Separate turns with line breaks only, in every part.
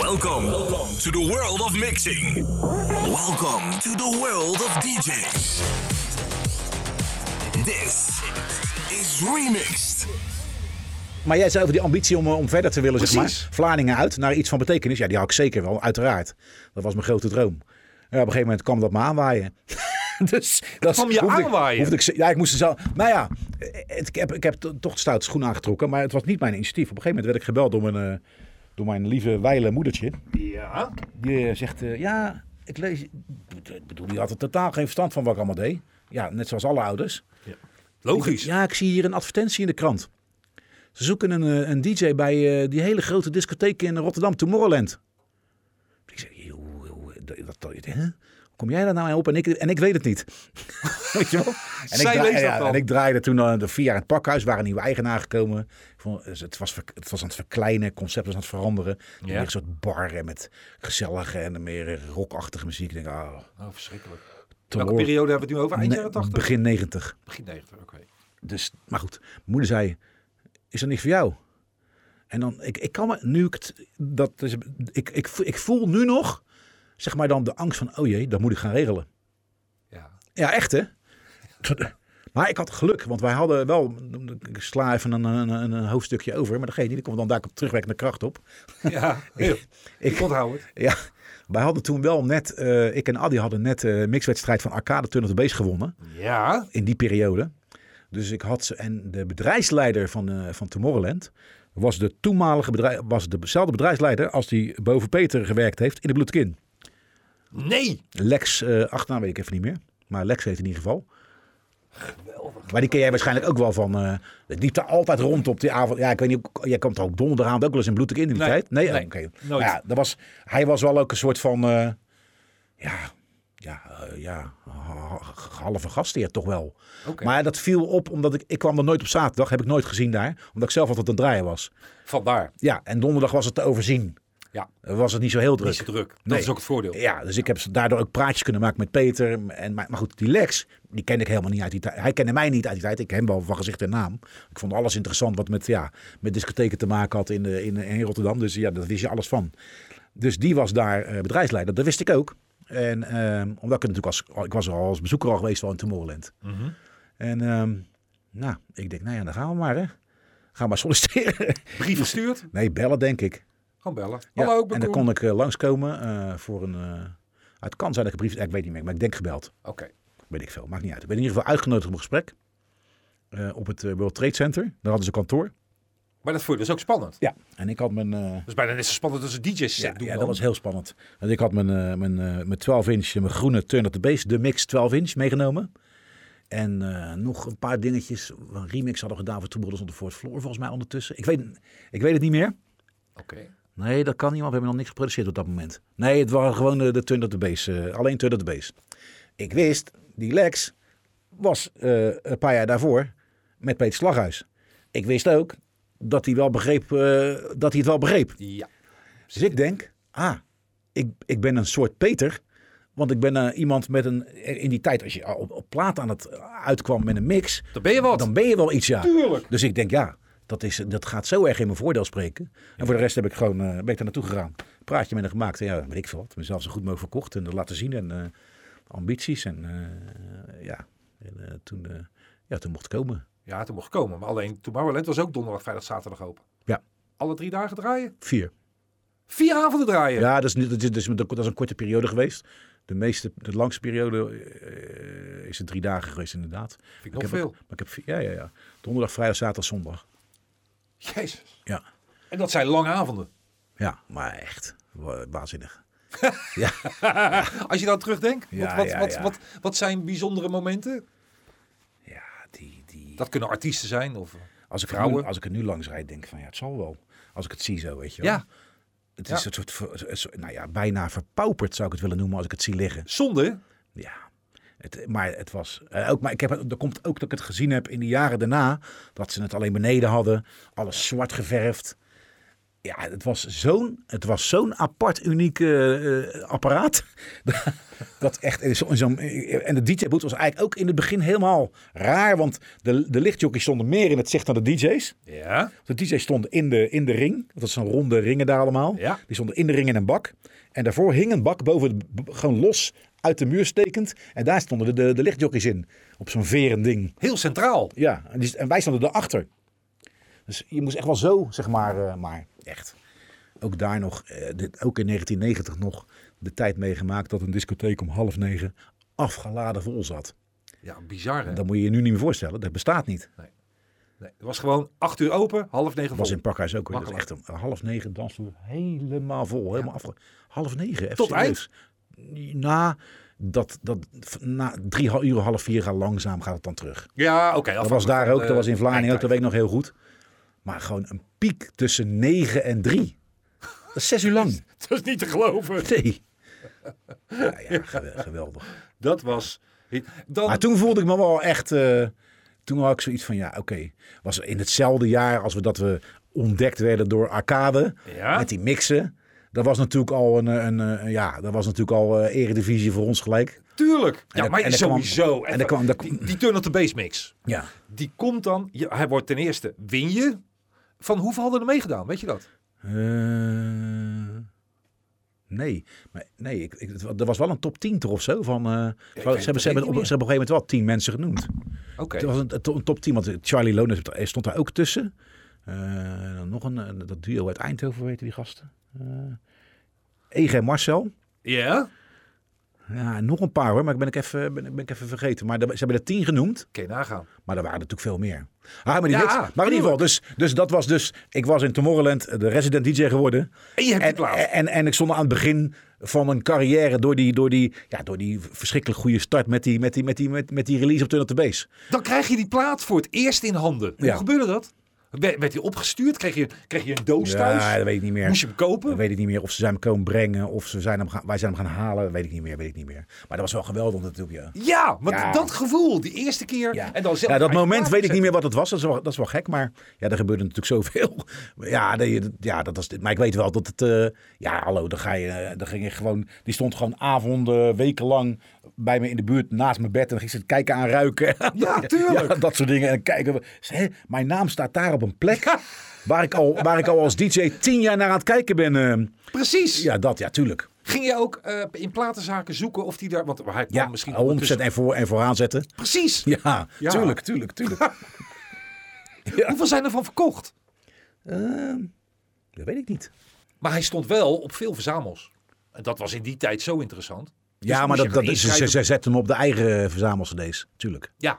Welcome to the world of mixing. Welcome to the world of DJs. This is remixed.
Maar jij zei over die ambitie om, eh, om verder te willen,
Precies.
zeg maar. Vlaardingen uit naar iets van betekenis. Ja, die had ik zeker wel, uiteraard. Dat was mijn grote droom. Ja, op een gegeven moment kwam dat me aanwaaien. dus dat
Kwam je
hoefde ik-
aanwaaien?
hoefde ik ze- ja, ik moest er zo... Maar ja, het, ik, heb, ik heb to- toch de stoute schoen aangetrokken. Maar het was niet mijn initiatief. Op een gegeven moment werd ik gebeld door mijn, eh, door mijn lieve, wijle moedertje.
Ja.
Die eh, zegt, eh, ja, ik lees... Ik bedoel, die had er totaal geen verstand van wat ik allemaal deed. Ja, net zoals alle ouders.
Logisch.
Ja, ik zie hier een advertentie in de krant. Ze zoeken een, eh, een DJ bij eh, die hele grote discotheek in Rotterdam, Tomorrowland. Ik zeg, joh, joh, dat- dat, dat- hè? Hoe kom jij daar nou aan op? En ik, en ik weet het niet. weet je wel? En,
Zij
ik
leest dat
ja,
dan.
en ik draaide toen eh, de vier jaar het pakhuis, waren nieuwe eigenaar gekomen. Ik vond, eh, het, was, ver- het was aan het verkleinen, het concept was aan het veranderen. Toen
Ja.
Meer een soort bar eh, met gezellige en meer rockachtige muziek. Ik denk, ah,
Oh, verschrikkelijk. Welke
Tomorrow-
periode hebben we het nu over? Eind
Nee,
jaren 80?
Begin 90.
Begin 90, oké.
Dus, maar goed, mijn moeder zei, is dat niet voor jou? En dan, ik, ik kan me, nu ik het, dat is, ik, ik, vo- ik voel nu nog, zeg maar dan de angst van, oh jee, dat moet ik gaan regelen.
Ja.
Ja, echt hè? Maar ik had geluk, want wij hadden wel, ik sla even een, een, een- een hoofdstukje over, maar dat geeft niet, ik kom dan daar op terugwerkende kracht op.
Ja, ik,
Ik-
onthoud het.
Ja, wij hadden toen wel net, eh, ik en Addy hadden net eh mixwedstrijd van Arcade Turn of the Base gewonnen.
Ja.
in die periode. Dus ik had ze en de bedrijfsleider van, eh, van Tomorrowland was de toenmalige bedrijf, was dezelfde bedrijfsleider als die boven Peter gewerkt heeft in de Bloedkin.
Nee.
Lex, eh achternaam weet ik even niet meer, maar Lex heet in ieder geval. Maar die ken jij waarschijnlijk ook wel van. eh het liep daar altijd rond op die avond. Ja, ik weet niet, jij kwam toch ook donderdagavond ook wel eens in Bloedkin in die
Nee,
tijd? Nee, Oh,
nee,
oké.
nooit.
Ja, dat was, hij was wel ook een soort van, eh, ja, ja, eh, ja, ha- ha- halve gastheer toch wel.
Oké.
Maar dat viel op omdat ik, ik kwam er nooit op zaterdag, heb ik nooit gezien daar, omdat ik zelf altijd aan het draaien was.
Vandaar.
Ja, en donderdag was het te overzien.
Ja.
Eh, Was het niet zo heel druk.
Niet zo druk. Eh, Dat
Nee.
is ook het voordeel.
Ja, dus ik heb ze daardoor ook praatjes kunnen maken met Peter. En, maar, maar goed, die Lex, die ken ik helemaal niet uit die tijd. Hij kende mij niet uit die tijd. Ik ken hem wel van gezicht en naam. Ik vond alles interessant wat met, ja, met discotheken te maken had in, de, in, in Rotterdam. Dus ja, daar wist je alles van. Dus die was daar eh, bedrijfsleider. Dat wist ik ook. En ehm, omdat ik er natuurlijk als, ik was er al als bezoeker al geweest al in Tomorrowland. En ehm, nou, ik denk, nou ja, dan gaan we maar hè. Gaan we maar solliciteren.
Brief gestuurd.
Nee, bellen denk ik.
Gewoon bellen.
Ja,
Hallo, ik ben
en dan
Koen.
kon ik eh, langskomen eh, voor een... eh, het kan zijn dat ik een brief... Ik weet niet meer, maar ik denk gebeld.
Oké.
Weet ik veel, maakt niet uit. Ik ben in ieder geval uitgenodigd op een gesprek. eh, op het eh, World Trade Center. Daar hadden ze een kantoor.
Maar dat voordeel is ook spannend.
Ja. En ik had mijn... eh,
Dat is bijna net zo spannend als een DJ-set
ja,
doen
ja,
dan.
dat was heel spannend. Want ik had mijn, eh, mijn, eh, mijn 12 inch, mijn groene Turn of the Bass, de mix 12 inch meegenomen. En eh, nog een paar dingetjes. Een remix hadden we gedaan voor Two Brothers on the Fourth Floor volgens mij ondertussen. Ik weet, ik weet het niet meer.
Oké.
Nee, dat kan niet, want we hebben nog niks geproduceerd op dat moment. Nee, het waren gewoon eh, de Turn of the Base. eh, alleen Turn of the Base. Ik wist, die Lex was eh, een paar jaar daarvoor met Peter Slaghuis. Ik wist ook dat hij, wel begreep, eh, dat hij het wel begreep.
Ja.
Dus ik denk, ah, ik, ik ben een soort Peter. Want ik ben eh, iemand met een... In die tijd, als je op, op plaat aan het eh, uitkwam met een mix...
Dan ben je wat.
Dan ben je wel iets, ja.
Tuurlijk.
Dus ik denk, ja, dat, is, dat gaat zo erg in mijn voordeel spreken. En voor de rest heb ik gewoon, eh, ben ik daar naartoe gegaan. Een praatje met hem gemaakt. En ja, weet ik veel wat. Mezelf zo goed mogelijk verkocht en dat laten zien. En eh, ambities. En eh, ja, en, eh, toen, eh, ja, toen mocht ik komen.
Ja, toen mocht komen. Maar alleen Tomorrowland was ook donderdag, vrijdag, zaterdag open.
Ja.
Alle drie dagen draaien.
Vier.
Vier avonden draaien.
Ja, dat is, niet- dat, is, dat, is, dat is een korte periode geweest. De, meeste, de langste periode eh, is het drie dagen geweest, inderdaad.
Vind ik nog
heb ook-
veel.
maar ik heb, vier- ja, ja, ja. Donderdag, vrijdag, zaterdag, zondag.
Jezus.
Ja.
En dat zijn lange avonden.
Ja, maar echt wa- waanzinnig.
Als je dan terugdenkt, wat,
Ja,
wat,
ja,
wat,
ja.
Wat, wat zijn bijzondere momenten?
Ja, die, die...
Dat kunnen artiesten zijn. Of, eh,
Als ik, er
Vrouwen.
nu, als ik er nu langs rijd, denk ik van ja, het zal wel. Als ik het zie zo, weet je wel.
ja,
Het
ja.
is een soort, ver- een soort- nou ja, bijna verpauperd zou ik het willen noemen als ik het zie liggen.
zonde. hè?
Ja. Het, maar het was eh, ook, maar ik heb, het- er komt ook dat ik het gezien heb in de jaren daarna, dat ze het alleen beneden hadden, alles zwart geverfd. Ja, het was zo'n, het was zo'n apart, uniek eh, eh, apparaat. dat echt, in zo, in zo'n- eh, en de DJ-boot was eigenlijk ook in het begin helemaal raar. Want de, de lichtjockeys stonden meer in het zicht dan de DJ's.
Ja.
De DJ's stonden in de, in de ring. Dat zijn ronde ringen daar allemaal.
Ja.
Die stonden in de ring in een bak. En daarvoor hing een bak boven, de- b- gewoon los uit de muur stekend. En daar stonden de, de, de lichtjockeys in. Op zo'n verend ding.
Heel centraal.
Ja, en, die- en wij stonden erachter. Dus je moest echt wel zo, zeg maar, eh, maar echt. Ook daar nog, eh, dit, ook in 1990 nog, de tijd meegemaakt dat een discotheek om half negen afgeladen vol zat.
Ja, bizar hè.
Dat moet je je nu niet meer voorstellen, dat bestaat niet.
Nee, het was gewoon acht uur open, half negen
Dat was
vol.
in Pakhuis ook weer. Dat is echt
Makkelijk.
een, een half negen dansvloer helemaal vol, helemaal afge... Half negen. even
Tot
serieus. Na, dat, dat, na drie hal- uur, half vier, gaat langzaam gaat het dan terug.
Ja, oké. eh,
Dat
afhankelijk
was daar
van
ook,
de
dat was in Vlaanderen ook, dat weet
eindtijd.
ik nog heel goed. Maar gewoon een piek tussen 9 en 3. Dat is zes uur lang.
Dat is niet te geloven.
Nee. Ja, ja, gewe- geweldig.
Dat was... Dan,
Maar toen voelde ik me wel echt... eh, toen had ik zoiets van, ja, oké. was in hetzelfde jaar als we dat we ontdekt werden door Arcade.
Ja.
Met die mixen. Dat was natuurlijk al een, eh, een, eh, ja, dat was natuurlijk al eh, eredivisie voor ons gelijk.
Tuurlijk. Ja,
dat-
maar
en dat kwam-
sowieso.
en dat kwam- dat-
die, die turn op de base mix.
Ja.
Die komt dan... ja, hij wordt ten eerste... Win je? Van hoeveel hadden er meegedaan? Weet je dat?
Eh, nee, maar nee ik, ik, het wa- er was wel een top 10 toch of zo. Van, eh, ze, hebben, ze,
het niet
hebben, ze hebben op, ze hebben op een
meer.
gegeven moment wel 10 mensen genoemd.
Oké.
Het was een, een to- een top 10, want Charlie Lones stond daar ook tussen. Eh, dan nog een, eh, dat duo uit Eindhoven, hoe heette die gasten? Eh EG Marcel.
Ja?
Ja, en nog een paar hoor, maar ik ben ik even, ben, ik- ben ik even vergeten. Maar de- ze hebben er 10 genoemd,
Oké, nagaan.
maar er waren er natuurlijk veel meer. Ah, maar, die
Ja,
hits. maar in ieder geval, dus, dus dat was dus... Ik was in Tomorrowland eh, de resident DJ geworden.
En je hebt die
En,
plaat.
en, en ik stond aan het begin van mijn carrière door die, door die, ja, door die verschrikkelijk goede start met die, met die, met die, met, met die release op Turn Up The Bass.
Dan krijg je die plaat voor het eerst in handen. Hoe
Ja.
gebeurde dat? Werd werd die opgestuurd? Kreeg je, kreeg je een doos
Ja,
thuis?
dat weet ik niet meer.
Moest je hem
Dan
kopen?
weet ik niet meer of ze zijn hem komen brengen of ze zijn hem gaan, wij zijn hem gaan halen. Weet ik niet meer, weet ik niet meer. Maar dat was wel geweldig natuurlijk. Ja.
Ja, want
Ja.
dat gevoel, die eerste keer.
Ja.
En dan zelf
ja, dat
bij je
moment
plaat
weet ik
zetten.
niet meer wat het was. Dat is wel, dat is wel gek, maar ja, er gebeurde natuurlijk zoveel. Ja, dat, je- ja dat was, dit. maar ik weet wel dat het... eh, ja, hallo, dan, ga je, eh, dan ging je gewoon... Die stond gewoon avonden, wekenlang bij me in de buurt naast mijn bed. En dan ging ze het kijken aan ruiken.
Ja, tuurlijk.
Ja, dat soort dingen. En kijken, hè, mijn naam staat daar op een plek... Waar ik, al, waar ik al als DJ tien jaar naar aan het kijken ben. eh.
Precies.
ja, dat, ja, tuurlijk.
Ging je ook eh, in platenzaken zoeken of die daar... Want hij kwam
Ja,
misschien...
100%
ondertussen-
en, voor, en vooraan zetten.
Precies.
Ja,
Ja.
tuurlijk, tuurlijk, tuurlijk. ja.
Hoeveel zijn ervan verkocht?
Ehm, dat weet ik niet.
Maar hij stond wel op veel verzamels. En dat was in die tijd zo interessant. Dus
ja, maar
moest je
dat, dat
gaan
is, ze,
inschrijven.
ze zetten hem op de eigen verzamelcd's. Tuurlijk.
Ja,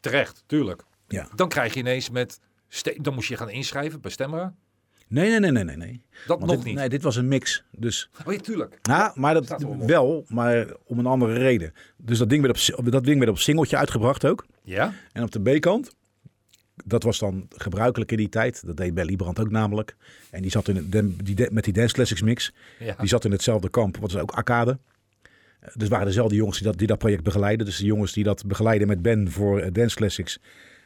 terecht, tuurlijk.
Ja.
Dan krijg je ineens met... ste- Dan moest je gaan inschrijven bij Stemra.
Nee, nee, nee, nee, nee. nee.
Dat nog
dit,
niet.
Nee, dit was een mix. Dus,
Oh ja, tuurlijk.
ja, maar
Staat
dat
er wel op.
wel, maar om een andere reden. Dus dat ding werd op, si- op- dat ding werd op singeltje uitgebracht ook.
Ja?
En op de B-kant, dat was dan gebruikelijk in die tijd. Dat deed bij Liebrand ook namelijk. En die zat in het, den- die, de- met die Dance Classics mix.
Ja.
Die zat in hetzelfde kamp, wat is ook Arcade. Eh, Dus waren dezelfde jongens die dat, die dat project begeleiden. Dus de jongens die dat begeleiden met Ben voor eh, Dance Classics,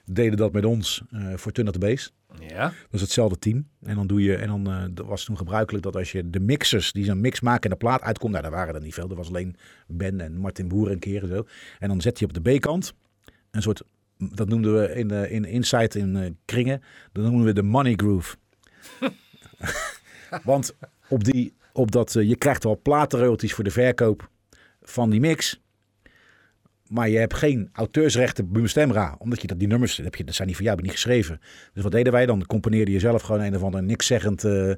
deden dat met ons eh, voor Turn at the Base.
Ja?
Dat is hetzelfde team. En dan doe je, en dan eh, dat was toen gebruikelijk dat als je de mixers die zo'n mix maken en de plaat uitkomt, nou daar waren er niet veel. Er was alleen Ben en Martin Boer een keer en zo. En dan zet je op de B-kant een soort, dat noemden we in, eh, in Insight in eh, kringen, dat noemden we de money groove. Want op die, op dat, eh, je krijgt wel platenroyalties voor de verkoop van die mix. Maar je hebt geen auteursrechten bij Stemra. Omdat je dat, die nummers, dat, heb je, dat zijn niet van jou, hebben niet geschreven. Dus wat deden wij dan? Componeerde je zelf gewoon een of ander nikszeggend eh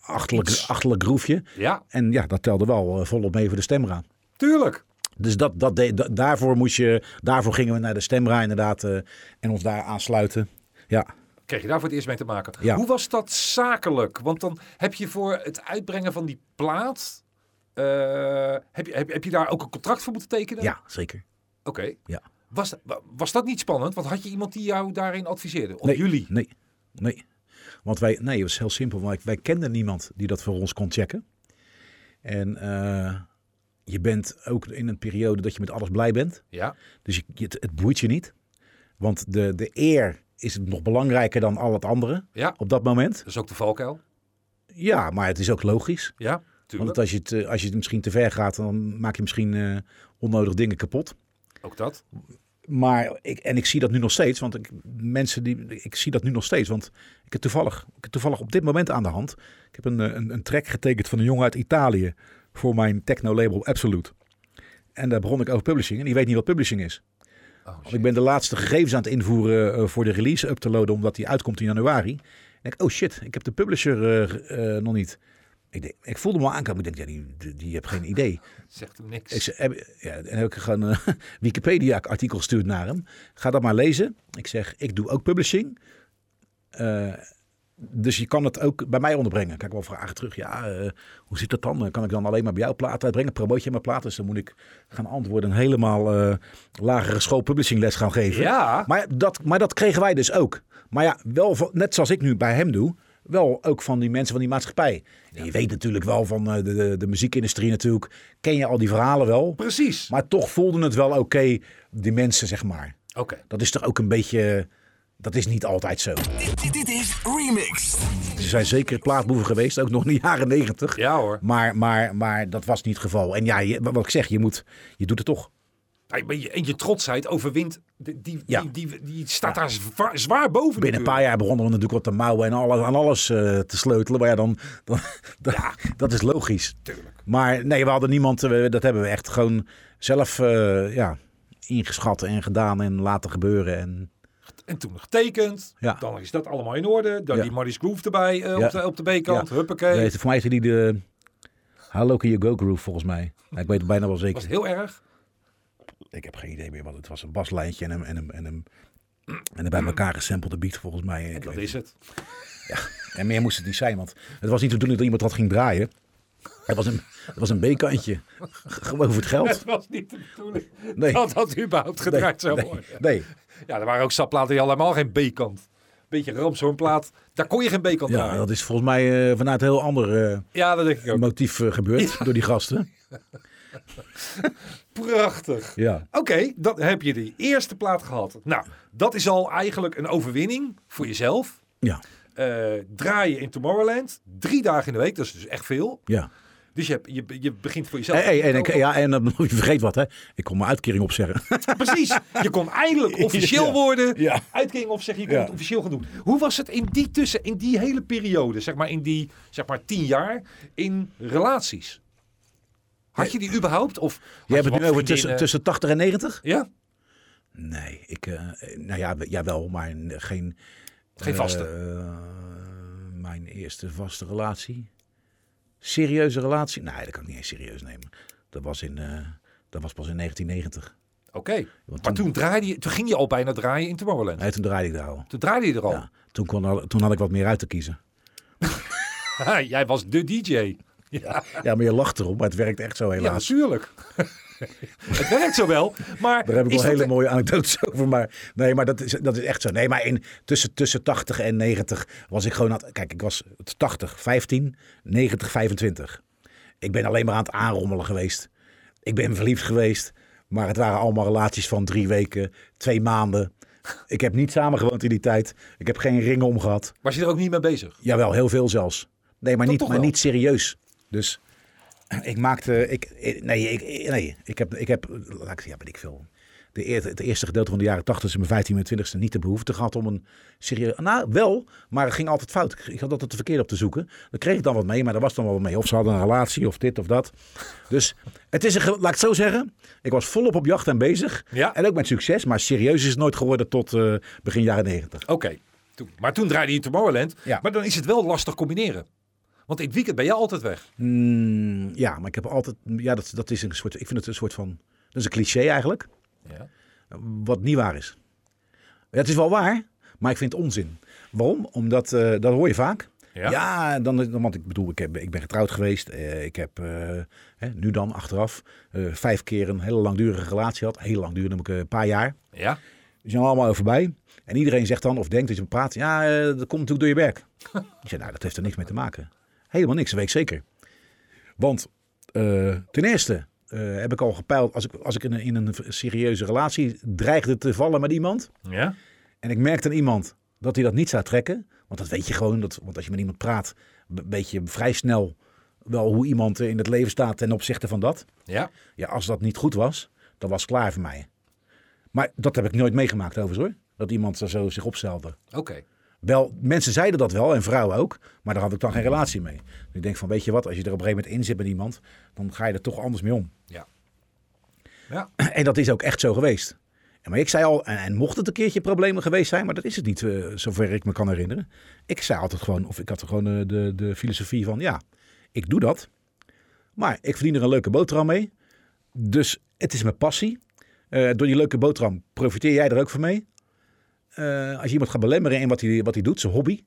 achterlijk,
Iets.
achterlijk groefje.
Ja,
En ja, dat telde wel eh, volop mee voor de Stemra.
tuurlijk.
Dus dat, dat deed- da- daarvoor, moest je, daarvoor gingen we naar de Stemra inderdaad eh, en ons daar aansluiten. Ja,
Kreeg je daar voor het eerst mee te maken.
Ja.
Hoe was dat zakelijk? Want dan heb je voor het uitbrengen van die plaat... eh, heb, je, heb, heb je daar ook een contract voor moeten tekenen?
ja zeker.
Oké.
Ja.
Was, da- wa- was dat niet spannend? Want had je iemand die jou daarin adviseerde? Of
nee,
jullie?
Nee, nee. Want wij, nee, het was heel simpel. Wij, wij kenden niemand die dat voor ons kon checken. En eh, je bent ook in een periode dat je met alles blij bent.
Ja.
Dus je, je- het, het boeit je niet. Want de, de eer is nog belangrijker dan al het andere
Ja.
op dat moment.
Dat is ook de valkuil.
Ja, maar het is ook logisch.
Ja, tuurlijk.
Want als je, het, eh, als je het misschien te ver gaat, dan maak je misschien eh, onnodig dingen kapot.
Ook dat.
Maar ik, en ik zie dat nu nog steeds, want ik, mensen die, ik zie dat nu nog steeds, want ik heb toevallig, ik heb toevallig op dit moment aan de hand. Ik heb een, eh, een, een track getekend van een jongen uit Italië voor mijn techno-label Absolute. En daar begon ik over publishing en die weet niet wat publishing is.
Oh,
Want ik ben de laatste gegevens aan het invoeren eh, voor de release up te loaden, omdat die uitkomt in januari. En ik denk, oh shit, ik heb de publisher eh, eh, nog niet. Ik, denk, ik voelde me al aankomen. Ik denk, ja, die, die, die heeft geen idee.
Zegt hem niks.
Ik zeg, heb- ja, en heb ik gewoon een Wikipedia-artikel gestuurd naar hem. Ga dat maar lezen. Ik zeg, ik doe ook publishing. Eh, dus je kan het ook bij mij onderbrengen. Kijk, wel vragen terug. Ja, eh, hoe zit dat dan? Kan ik dan alleen maar bij jou plaat uitbrengen? Promoot je mijn plaat? Dus dan moet ik gaan antwoorden. en helemaal eh, lagere school publishing les gaan geven.
ja,
Maar dat, maar dat kregen wij dus ook. Maar ja, wel van- net zoals ik nu bij hem doe, wel ook van die mensen van die maatschappij. En je weet natuurlijk wel van eh, de, de, de muziekindustrie natuurlijk, ken je al die verhalen wel.
precies.
Maar toch voelden het wel oké, die mensen zeg maar.
Oké.
Dat is toch ook een beetje, dat is niet altijd zo.
Dit, dit- dit is Remixed.
Ze zijn zeker plaatboeven geweest, ook nog in de jaren negentig.
Ja hoor.
Maar, maar, maar dat was niet het geval. En ja, je- wat ik zeg, je, moet, je doet het toch.
Hey, maar je- En je trotsheid overwint. Die, die,
Ja.
die, die, die staat daar zwaar, zwaar boven.
Binnen een paar jaar begonnen we natuurlijk wat te mouwen en alles, aan alles eh, te sleutelen. Maar ja, dan, dan, dan- dat is logisch.
Tuurlijk.
Maar nee, we hadden niemand, eh, we- dat hebben we echt gewoon zelf eh, ja, ingeschat en gedaan en laten gebeuren. En,
En toen nog getekend.
Ja.
Dan is dat allemaal in orde. Dan
Ja.
die Maurice Groove erbij eh,
Ja.
op, de, op de B-kant.
Ja.
Huppakee.
Weet je, voor mij is die de How Low Can You Go Groove volgens mij. Nou, ik weet het bijna wel
Dat was
zeker.
heel erg.
Ik heb geen idee meer, want het was een baslijntje en een, en een, en een, en een bij elkaar gesampelde beat volgens mij. Ik
En dat
weet-
is het.
En meer moest het niet zijn, want het was niet de bedoeling dat iemand dat ging draaien. Het was een, het was een B-kantje. G- Gewoon voor het
Het
geld.
was niet de bedoeling
Nee.
dat dat überhaupt gedraaid zou
nee,
worden.
nee.
Ja, er waren ook sapplaten die allemaal geen B-kant. Beetje ramshoornplaat. Daar kon je geen B-kant aan.
Ja, dat is volgens mij eh, vanuit een heel ander eh,
ja, dat denk ik ook.
motief eh, gebeurd door die gasten.
Prachtig.
Ja.
Oké, dan heb je die eerste plaat gehad. Nou, dat is al eigenlijk een overwinning voor jezelf.
Ja,
Eh, draaien in Tomorrowland. Drie dagen in de week, dat is dus echt veel.
ja.
Dus je, hebt- je, je begint voor jezelf.
Hey, hey, Eh, en, ik, ja en dan moet je vergeet wat, hè. Ik kon mijn uitkering opzeggen.
Precies, je kon eindelijk officieel
Ja.
worden.
Ja.
Uitkering of zeg je, je kon
Ja.
het officieel gaan doen. Hoe was het in die tussen, in die hele periode, zeg maar in die zeg maar tien jaar, in relaties? Had je die überhaupt? Of had
Jij hebt het
wat
nu over
vriendinnen?
tussen, tussen 80 en 90?
Ja,
Nee, ik... eh, nou ja, we- jawel, maar n- geen...
geen vaste.
eh, mijn eerste vaste relatie. Serieuze relatie? Nee, dat kan ik niet eens serieus nemen. Dat was, in, eh, dat was pas in 1990.
Oké, maar
want
toen,
toen-
draaide je, toen ging je al bijna draaien in Tomorrowland.
Nee, toen draaide ik daar al.
Toen draaide je er al.
Ja, toen, kon, al- toen had ik wat meer uit te kiezen.
Ha, jij was de DJ. Ja,
Ja, maar je lacht erop, maar het werkt echt zo
ja
helaas.
natuurlijk. het werkt zo wel, maar
Daar heb ik
is
wel hele
dat-
mooie anekdotes over. Maar nee, maar dat is, dat is echt zo. Nee, maar in, tussen, tussen 80 en 90 was ik gewoon... aan het- Kijk, ik was 80, 15, 90, 25. Ik ben alleen maar aan het aanrommelen geweest. Ik ben verliefd geweest. Maar het waren allemaal relaties van drie weken, twee maanden. Ik heb niet samengewoond in die tijd. Ik heb geen ringen om gehad.
was je er ook niet mee bezig?
Jawel, heel veel zelfs. Nee, maar, niet,
toch
maar
wel.
niet serieus. Dus ik maakte. Ik, ik- nee, ik, nee, ik heb. Ik heb laat ik, ja, weet ik veel. De eer- het eerste gedeelte van de jaren 80, dus mijn 15 en 20ste, niet de behoefte gehad om een serieus. Nou, wel, maar het ging altijd fout. Ik- Ik had altijd de verkeerde op te zoeken. Daar kreeg ik dan wat mee, maar daar was dan wel wat mee. Of ze hadden een relatie, of dit of dat. Dus het is een. ge- Laat ik het zo zeggen. Ik was volop op jacht en bezig.
Ja.
En ook met succes, maar serieus is het nooit geworden tot eh, begin jaren 90.
Oké, toen- maar toen draaide je Tomorrowland.
Ja.
Maar dan is het wel lastig combineren. Want in het weekend ben je altijd weg.
Mm, ja, maar ik heb altijd. Ja, dat, dat is een soort. Ik vind het een soort van. Dat is een cliché eigenlijk.
Ja.
Wat niet waar is. Het is wel waar, maar ik vind het onzin. Waarom? Omdat eh, dat hoor je vaak.
Ja.
Ja, dan, dan, want ik bedoel, ik, heb, ik ben getrouwd geweest. eh, ik heb eh, hè, nu dan achteraf eh, vijf keer een hele langdurige relatie gehad. Heel langdurig, namelijk eh, een paar jaar.
ja.
Die zijn allemaal over voorbij. En iedereen zegt dan, of denkt dat je praat, ja, eh, dat komt natuurlijk door je werk. Ik zeg, nou, dat heeft er niks mee te maken. Helemaal niks, dat weet ik zeker. Want eh, ten eerste eh, heb ik al gepeild, als ik, als ik in, een, in een serieuze relatie dreigde te vallen met iemand.
ja.
En ik merkte aan iemand dat hij dat niet zou trekken. Want dat weet je gewoon, dat, want als je met iemand praat, een beetje vrij snel wel hoe iemand eh, in het leven staat ten opzichte van dat.
Ja.
Ja, als dat niet goed was, dan was het klaar voor mij. Maar dat heb ik nooit meegemaakt overigens hoor. Dat iemand zo zich opstelde.
Oké.
Wel, mensen zeiden dat wel en vrouwen ook, maar daar had ik dan geen relatie mee. Dus Ik denk van, weet je wat, als je er op een gegeven moment in zit met iemand, dan ga je er toch anders mee om.
Ja. Ja.
En dat is ook echt zo geweest. En Maar ik zei al, en, en mocht het een keertje problemen geweest zijn, maar dat is het niet, eh, zover ik me kan herinneren. Ik zei altijd gewoon, of ik had er gewoon eh, de, de filosofie van, ja, ik doe dat, maar ik verdien er een leuke boterham mee. Dus het is mijn passie. Eh, door die leuke boterham profiteer jij er ook van mee. Eh, als je iemand gaat belemmeren in wat hij, wat hij doet, zijn hobby,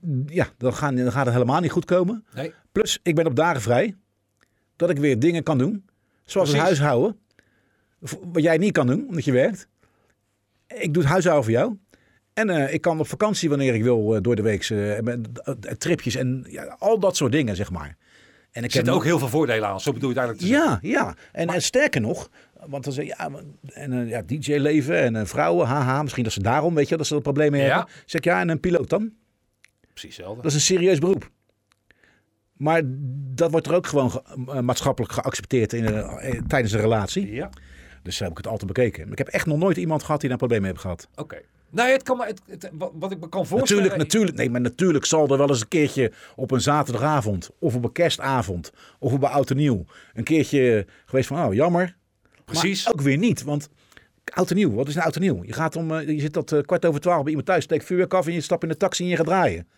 mm, ja, dan, gaan, dan gaat het helemaal niet goed komen.
Nee.
Plus, ik ben op dagen vrij. Dat ik weer dingen kan doen. Zoals het
Precies.
huishouden. v- Wat jij niet kan doen, omdat je werkt. Ik doe het huishouden voor jou. En eh, ik kan op vakantie wanneer ik wil eh, door de week. eh, met- eh, tripjes en ja, al dat soort dingen, zeg maar. En ik
Er zitten
heb-
ook heel veel voordelen aan. Zo bedoel je het eh, eigenlijk te zeggen.
ja, ja. En, en sterker nog, want dan zeg je, ja, maar- en, eh, ja, DJ-leven en eh, vrouwen, haha, misschien dat ze daarom, weet je, wel, dat ze dat probleem mee
Ja.
hebben. Zeg ik, ja, en een piloot dan?
Precies hetzelfde.
Dat is een serieus beroep. Maar dat wordt er ook gewoon ge- eh, maatschappelijk geaccepteerd in, eh, eh, tijdens een relatie.
Ja.
Dus zo heb ik het altijd bekeken. Ik heb echt nog nooit iemand gehad die daar problemen mee heeft gehad.
Oké. Nou, ja, het kan maar, het, het- wat, wat ik me kan voorstellen.
Natuurlijk, natuurlijk, nee, maar natuurlijk zal er wel eens een keertje op een zaterdagavond of op een kerstavond of op een oud en nieuw een keertje geweest van, oh jammer,
Precies.
Maar ook weer niet, want oud en nieuw, wat is nou oud en nieuw? Je, gaat om, eh, je zit tot eh, kwart over twaalf bij iemand thuis, steekt vuurwerk af en je stapt in de taxi en je gaat draaien.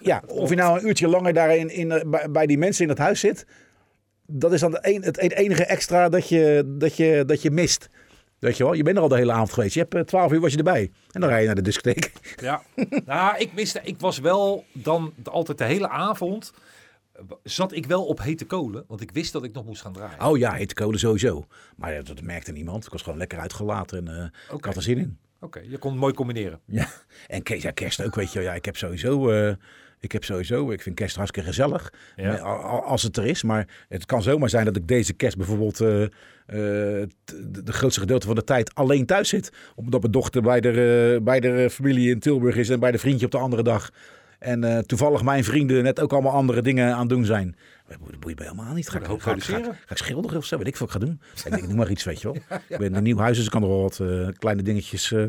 ja, of je nou een uurtje langer daar in, in, eh, bij, bij die mensen in dat huis zit, dat is dan de een, het enige extra dat je, dat, je, dat je mist. Weet je wel, je bent er al de hele avond geweest. Je hebt eh, twaalf uur was je erbij. En dan rij je naar de discotheek.
Ja. nou, ik miste. Ik was wel dan de- altijd de hele avond. eh, Zat ik wel op hete kolen, want ik wist dat ik nog moest gaan draaien.
Oh ja, hete kolen sowieso. Maar ja, dat merkte niemand. Ik was gewoon lekker uitgelaten en eh, ik
Oké.
had er zin in.
Oké, je kon het mooi combineren.
Ja, en kerst, ja, kerst ook, weet je wel. Ja, ik heb sowieso... eh, ik heb sowieso, ik vind kerst hartstikke gezellig,
Ja.
eh, a- a- als het er is. Maar het kan zomaar zijn dat ik deze kerst bijvoorbeeld eh, eh, t- de de grootste gedeelte van de tijd alleen thuis zit. Omdat mijn dochter bij de, eh, bij de eh, familie in Tilburg is en bij de vriendje op de andere dag. En eh, toevallig mijn vrienden net ook allemaal andere dingen aan het doen zijn. Dat boeit- boeit mij helemaal niet. Ga ik,
Een hoop
ga, ik- ga, ik-
produceren.
ga ik schilderen of zo? Weet ik veel wat ik ga doen. Ik denk, noem maar iets, weet je wel. Ik ben in een nieuw huis, dus ik kan er wel wat eh, kleine dingetjes... eh,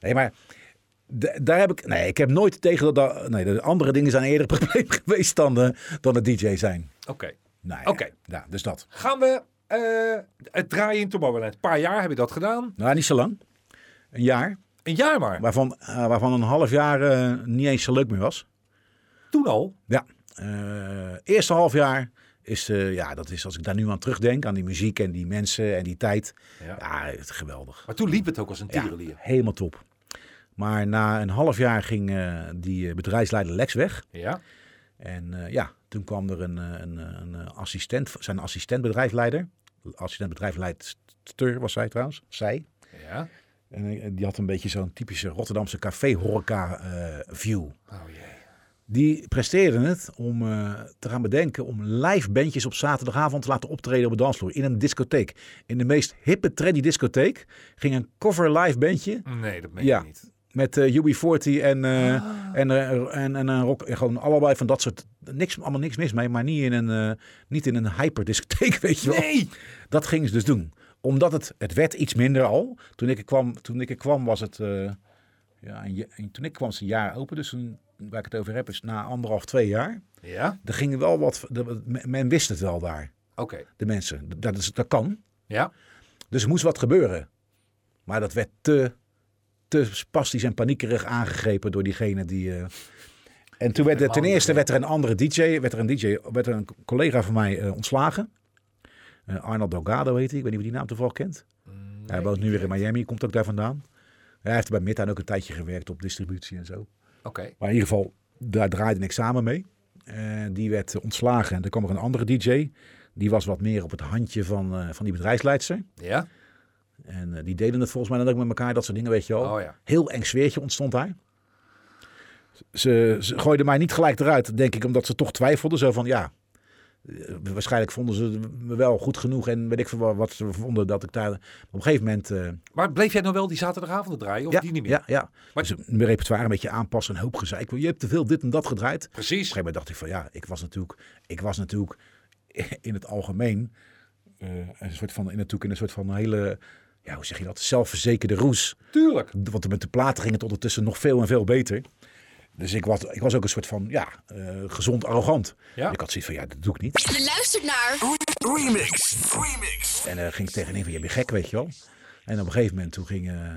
Nee, maar d- daar heb ik. Nee, ik heb nooit tegen dat. da- nee, de andere dingen zijn eerder een probleem geweest dan, eh, dan het DJ zijn.
Oké.
Nee.
Oké.
Ja, dus dat.
Gaan we eh, het draaien in Tomorrowland. Een paar jaar heb je dat gedaan.
Nou, niet zo lang. Een jaar.
Een jaar maar.
Waarvan, eh, waarvan een half jaar eh, niet eens zo leuk meer was.
Toen al.
Ja. Eh, eerste half jaar is. eh, ja, dat is als ik daar nu aan terugdenk. Aan die muziek en die mensen en die tijd.
Ja.
Ja, het, geweldig.
Maar toen liep het ook als een
Ja,
tierenlier.
helemaal top. Maar na een half jaar ging eh, die eh, bedrijfsleider Lex weg.
Ja.
En eh, ja, toen kwam er een, eh, een, eh, een eh, assistent, zijn assistent bedrijfsleider. Assistent bedrijfsleidster was zij trouwens, zij.
Ja.
En eh, die had een beetje zo'n typische Rotterdamse café-horeca-view.
Oh jee.
die presteerde het om eh, te gaan bedenken om live bandjes op zaterdagavond te laten optreden op de dansvloer. In een discotheek. In de meest hippe, trendy discotheek ging een cover live bandje
Nee, dat meen
Ja.
ik niet.
met eh UB40 en, eh, en, eh, en, en een rock. en Gewoon allebei van dat soort. Niks, allemaal niks mis mee, maar niet in een, eh, niet in een hyperdiscotheek, weet je wel.
Nee!
Dat gingen ze dus doen. Omdat het, het werd iets minder al. Toen ik er kwam, toen ik er kwam was het. eh, ja, een, ja- en toen ik kwam, was het een jaar open. Dus toen, waar ik het over heb, is na anderhalf, twee jaar.
Ja?
Er ging wel wat. de- men- men wist het wel daar,
Oké.
de mensen. Dat, is, dat kan.
Ja?
Dus er moest wat gebeuren. Maar dat werd te, te spastisch en paniekerig aangegrepen door diegene die. eh, En toen werd er, ten eerste werd er een andere DJ, werd er een, DJ, werd er een collega van mij eh, ontslagen. Eh Arnold Delgado heet hij. Ik weet niet of je die naam toevallig kent. hij woont nu weer in Miami, komt ook daar vandaan. Hij heeft bij Midtown ook een tijdje gewerkt op distributie en zo.
Oké.
Maar in ieder geval, daar draaide ik samen mee. Eh, die werd eh, ontslagen en er kwam er een andere DJ. Die was wat meer op het handje van, eh, van die bedrijfsleidster.
Ja?
En eh, die deden het volgens mij dan ook met elkaar, dat soort dingen, weet je wel.
Oh ja.
Heel eng sfeertje ontstond daar. Ze, ze gooiden mij niet gelijk eruit, denk ik, omdat ze toch twijfelden. Zo van, ja, eh, waarschijnlijk vonden ze me wel goed genoeg en weet ik veel wa- wat ze vonden dat ik daar... Op een gegeven moment... eh,
Maar bleef jij nou wel die zaterdagavond draaien of
ja,
die niet meer?
Ja, ja.
Maar-
dus mijn repertoire een beetje aanpassen, een hoop gezeik. Je hebt te veel dit en dat gedraaid.
Precies.
Op een gegeven moment dacht ik van ja, ik was natuurlijk, ik was natuurlijk in het algemeen eh, een soort van, in, natuurlijk in een soort van hele, ja, hoe zeg je dat, zelfverzekerde roes.
Tuurlijk.
Want met de platen ging het ondertussen nog veel en veel beter. Dus ik was, ik was ook een soort van, ja, eh, gezond arrogant.
Ja.
Ik had zoiets van, ja, dat doe ik niet.
Je luistert naar
Remix. Remix.
En eh, ging ik tegen hem van, je bent gek, weet je wel. En op een gegeven moment toen ging... eh, eh,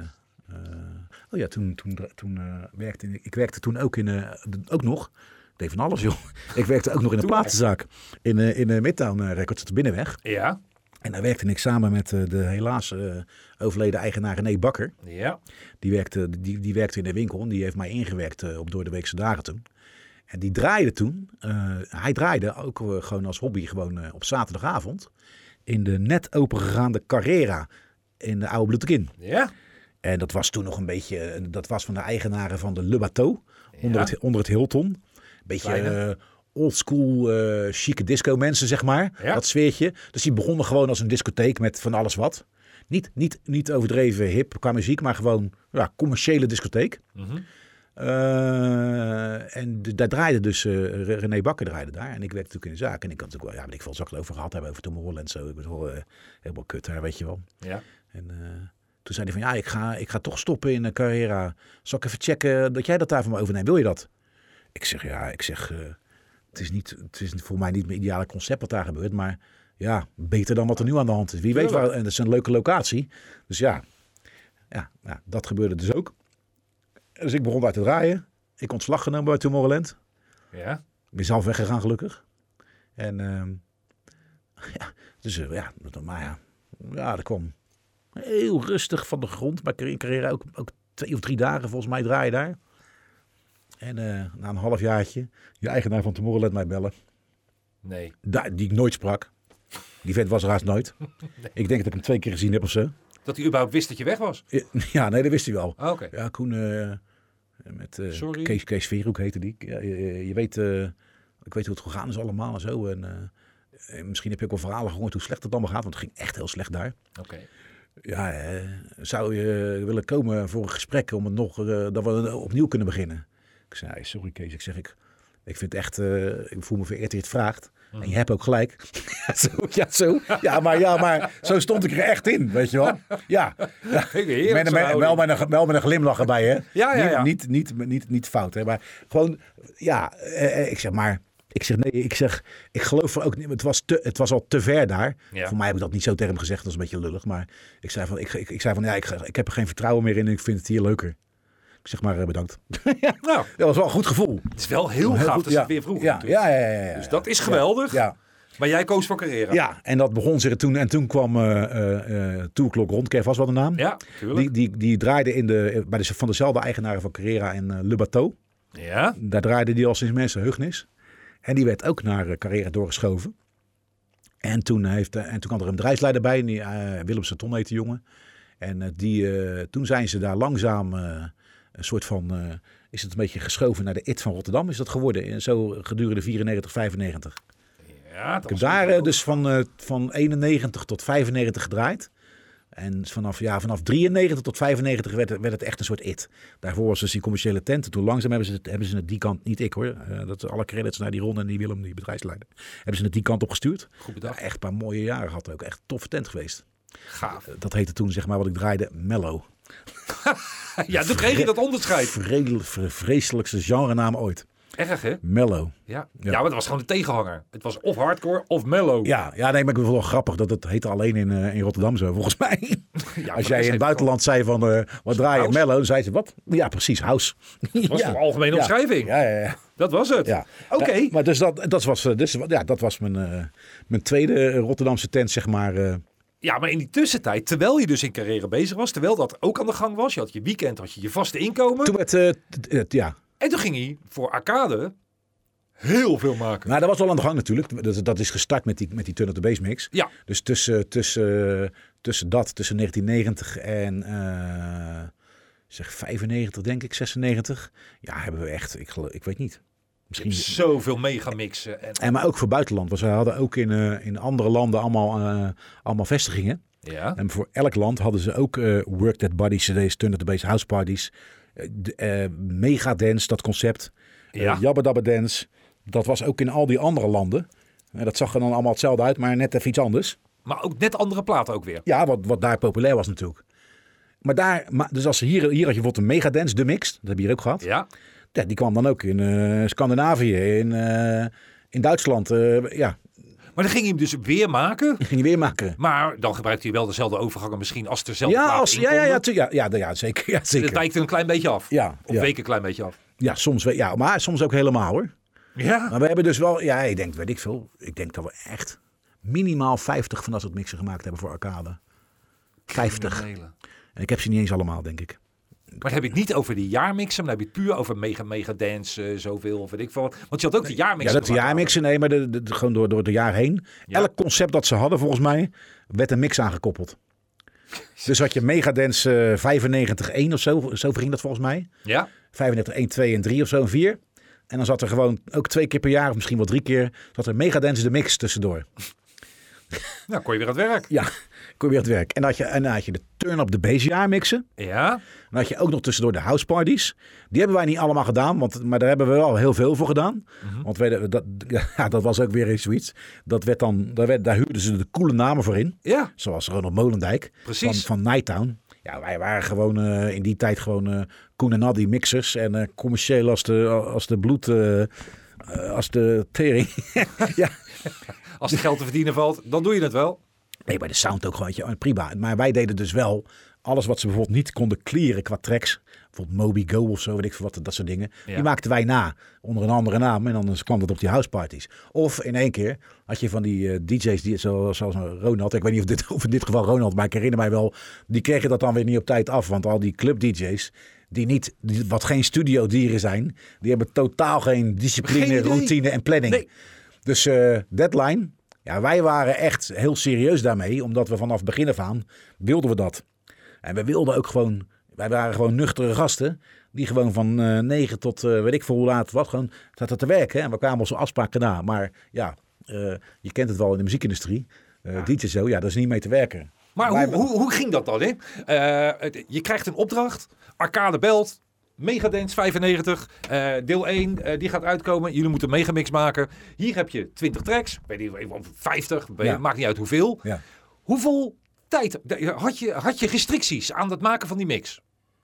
oh ja, toen, toen, toen eh, werkte ik... Ik werkte toen ook in... eh, ook nog. Ik deed van alles, joh. Ik werkte ook nog in een platenzaak. In, eh, in eh, Midtown eh, Records op de Binnenweg.
Ja.
En daar werkte ik samen met eh, de helaas eh, overleden eigenaar René Bakker.
Ja.
Die werkte, die, die werkte in de winkel en die heeft mij ingewerkt eh, op Door de Weekse Dagen toen. En die draaide toen, eh, hij draaide ook eh, gewoon als hobby gewoon eh, op zaterdagavond in de net opengegaande Carrera in de Oude Bloetekin.
Ja.
En dat was toen nog een beetje, eh, dat was van de eigenaren van de Le Bateau, onder,
Ja.
het, onder het Hilton. Beetje
Kleine.
eh, oldschool, eh chique disco mensen, zeg maar.
Ja.
Dat sfeertje. Dus die begonnen gewoon als een discotheek met van alles wat. Niet, niet, niet overdreven hip qua muziek, maar gewoon ja, commerciële discotheek.
Mhm.
Eh, en de- daar draaide dus eh, Re- René Bakker draaide daar. En ik werkte natuurlijk in de zaak. En ik had natuurlijk wel, ja, weet ik veel zag het over gehad hebben over Tomorrowland en zo. Ik bedoel, eh, helemaal kut daar, weet je wel.
Ja.
En eh, toen zei hij van ja, ik ga, ik ga toch stoppen in eh, Carrera. Zal ik even checken dat jij dat daar van me overneemt? Wil je dat? Ik zeg ja, ik zeg, eh, het, is niet, het is voor mij niet mijn ideale concept wat daar gebeurt. Maar ja, beter dan wat er nu aan de hand is. Wie weet
Tuurlijk.
wel. En dat is een leuke locatie. Dus ja, ja, ja dat gebeurde dus ook. Dus ik begon daar te draaien. Ik ontslag genomen bij Tomorrowland.
Ja.
Ik ben zelf weggegaan, gelukkig. En ehm, ja, dus eh, ja, dat- maar ja, ja, dat kwam heel rustig van de grond. Maar in carrière ook, ook twee of drie dagen volgens mij draai je daar. En eh, na een halfjaartje, je eigenaar van Tomorrowland mij bellen.
Nee.
Da- die ik nooit sprak. Die vent was er haast nooit. Ik denk dat ik hem twee keer gezien heb of zo.
Dat hij überhaupt wist dat je weg was.
Ja, nee, dat wist hij wel.
Ah, Oké.
Ja, Koen, eh, met eh,
Sorry.
Kees, Kees Veerhoek heette die. Ja, je, je- je weet, eh, ik weet hoe het gegaan is allemaal en zo. En, eh, eh, misschien heb je ook wel verhalen gehoord hoe slecht het allemaal gaat, want het ging echt heel slecht daar.
Oké.
Ja, eh, zou je willen komen voor een gesprek om het nog, eh, dat we opnieuw kunnen beginnen? Ik zei, "Nee, sorry Kees, ik zeg, ik, ik vind echt, eh, ik voel me vereerd dat je het vraagt. En je hebt ook gelijk. zo, ja, zo. Ja, maar, ja, maar zo stond ik er echt in, weet je wel. Ja,
Ik heerlijk
met, een-
zo'n
met-
houding.
wel, met een, wel met een glimlach erbij, hè?
ja, ja.
Niet, niet, niet, niet, niet fout, hè? Maar gewoon, ja, eh, eh, ik zeg maar... Ik zeg nee, ik zeg, ik geloof er ook niet. Het was, te, het was al te ver daar.
Ja.
Voor mij heb ik dat niet zo tegen hem gezegd. Dat is een beetje lullig. Maar ik zei van, ik, ik, ik zei van ja, ik, ik heb er geen vertrouwen meer in. Ik vind het hier leuker. Ik zeg maar eh, bedankt.
Nou,
Dat was wel een goed gevoel.
het is wel heel, gaaf
goed,
dat ze
ja.
het weer vroeg.
Ja, ja, ja, ja, ja,
Dus dat is geweldig.
Ja.
Maar jij koos voor carrière.
ja, en dat begon zich toen. En toen kwam eh eh eh Two O'Clock Rond. Kev was wel de naam.
Ja,
Die,
tuurlijk.
die, die draaide in de, bij de, van dezelfde eigenaren van Carrera en eh, Le Bateau.
Ja.
Daar draaide die al sinds mensen heugnis. En die werd ook naar eh, Carrera doorgeschoven. En toen, heeft, eh, en toen kwam er een bedrijfsleider bij, en die, eh, Willem Saton heet die jongen. En eh, die, eh, toen zijn ze daar langzaam eh, een soort van... eh, is het een beetje geschoven naar de IT van Rotterdam, is dat geworden. En zo gedurende 94, 95.
Ja, dat
Ik
was
heb daar
goed.
eh, dus van, eh, van 91 tot 95 gedraaid. En vanaf, ja, vanaf 93 tot 95 werd, het- werd het echt een soort it. Daarvoor was dus die commerciële tenten. Toen langzaam hebben ze het, hebben ze het die kant, niet ik hoor. eh, dat alle credits naar die Ron en die Willem, die bedrijfsleider. Hebben ze het die kant opgestuurd.
Goed
Ja,
bedacht.
echt een paar mooie jaren gehad ook. Echt toffe tent geweest. Eh,
Gaaf.
Dat heette toen zeg maar wat ik draaide Mellow.
Ja, toen kreeg je dat onderscheid.
Vredel- vre- vreselijkste genrenaam ooit.
Erg, hè?
Mellow.
Ja. ja,
Ja.
maar dat was gewoon de tegenhanger. Het was of hardcore of mellow.
Ja, ja, nee, maar ik vind het wel grappig dat het heette alleen in, eh, in Rotterdam zo, volgens mij.
Ja, maar dat
Als jij
is
in het
even-
buitenland zei van, eh, wat draai je,
House?
Mello? Dan zei ze, wat? Ja, precies, house. Dat
was toch een algemene omschrijving?
Ja, ja, ja.
Dat was het.
ja.
Oké.
Ja, maar dus dat, dat was, eh, dus, ja, dat was mijn, eh, mijn tweede eh, Rotterdamse tent, zeg maar. eh.
Ja, maar in die tussentijd, terwijl je dus in carrière bezig was, terwijl dat ook aan de gang was, je had je weekend, had je je vaste inkomen.
Toen werd, eh, t- eh, ja.
En toen ging hij voor Arcade heel veel maken.
Nou, dat was wel aan de gang natuurlijk. Dat, dat is gestart met die, met die Turn of the Base mix.
Ja,
Dus tussen, tussen, tussen dat, tussen 1990 en eh, zeg 95, denk ik, 96. Ja, hebben we echt, ik, geloof- ik weet niet.
Je hebt
Misschien,
zoveel megamixen. En,
en, maar ook voor buitenland. Want ze hadden ook in, eh, in andere landen allemaal, eh, allemaal vestigingen.
ja.
En voor elk land hadden ze ook eh, Work That Body CD's, Turn That The Bass, House Parties. eh, de- eh, mega Dance, dat concept. eh,
Ja.
Jabba Dabba Dance. Dat was ook in al die andere landen. Eh, dat zag er dan allemaal hetzelfde uit, maar net even iets anders.
Maar ook net andere platen ook weer.
Ja, wat, wat daar populair was natuurlijk. Maar daar, maar, dus als ze hier, hier had je bijvoorbeeld een megadance, de mix, dat heb je hier ook gehad.
Ja.
Ja, die kwam dan ook in eh, Scandinavië, in, eh, in Duitsland. eh, ja,
Maar dan ging hij hem dus weer maken.
ging je weer maken.
Maar dan gebruikte hij wel dezelfde overgangen misschien als dezelfde
Ja,
platen
als, ja, ja,
inkonden.
ja, tu- ja, ja, ja, zeker. Ja,
Het
zeker.
wijkt er een klein beetje af.
Ja,
Of
ja.
week een klein beetje af.
ja, soms, we- ja, maar soms ook helemaal hoor.
Ja.
Maar we hebben dus wel, ja, ik denk, weet ik veel. Ik denk dat we echt minimaal 50 van dat soort mixen gemaakt hebben voor arcade. 50. En ik heb ze niet eens allemaal, denk ik.
Maar dan heb je het niet over die jaarmixen, maar dan heb je het puur over mega, mega dance, eh, zoveel of weet ik veel wat. Want je had ook de
Ja,
jaarmixen.
dat de
gemaakt.
jaarmixen, nee, maar de, de- de- gewoon door, door het jaar heen.
Ja.
Elk concept dat ze hadden, volgens mij, werd een mix aangekoppeld. Dus had je Megadance eh 95-1 of zo, zo ging dat volgens mij.
Ja,
35-1, 2 en 3 of zo, en 4. En dan zat er gewoon ook twee keer per jaar, of misschien wel drie keer, zat er Megadance de mix tussendoor.
nou kon je weer aan het werk.
Ja, kon je weer het werk. En dan had je, en dan had je de turn-up de bass jaarmixen.
Ja,
En dan had je ook nog tussendoor de houseparties. Die hebben wij niet allemaal gedaan, want, maar daar hebben we wel heel veel voor gedaan. Want we, dat, ja, dat was ook weer eens zoiets. Dat werd dan, daar, werd, daar huurden ze de coole namen voor in.
ja.
Zoals Ronald Molendijk
Precies.
van, van Nighttown. Ja, wij waren gewoon eh, in die tijd gewoon eh Koen en Nadie mixers. En eh, commercieel als de, als de bloed, eh, eh, als de tering. ja,
Als het geld te verdienen valt, dan doe je het wel.
Nee, bij de sound ook gewoon, weet je, oh, prima. Maar wij deden dus wel alles wat ze bijvoorbeeld niet konden clearen qua tracks. Bijvoorbeeld Moby Go of zo, weet ik veel wat, dat soort dingen.
Ja.
Die maakten wij na, onder een andere naam. En dan kwam dat op die houseparties. Of in één keer had je van die eh, DJ's, die, zoals, zoals Ronald. Ik weet niet of, dit, of in dit geval Ronald, maar ik herinner mij wel. Die kregen dat dan weer niet op tijd af. Want al die club DJ's, die niet, die, wat geen studiodieren zijn. Die hebben totaal geen discipline,
Geen idee.
routine en planning.
Nee.
Dus eh, deadline. Ja, wij waren echt heel serieus daarmee, omdat we vanaf begin af aan wilden we dat. En we wilden ook gewoon, wij waren gewoon nuchtere gasten, die gewoon van eh 9 tot eh, weet ik veel hoe laat wat, gewoon zaten te werken. En we kwamen onze afspraken na. Maar ja, eh, je kent het wel in de muziekindustrie. Eh DJ zo, ja, dat is niet mee te werken.
Maar
Wij-
hoe, hoe, hoe ging dat dan? Hè? Eh, het- je krijgt een opdracht, Arcade belt, Megadance 95, eh, deel 1, eh, die gaat uitkomen. Jullie moeten een megamix maken. Hier heb je 20 tracks, weet niet, of 50, weet-
Ja.
maakt niet uit hoeveel.
Ja.
Hoeveel tijd had je, had je restricties aan het maken van die mix?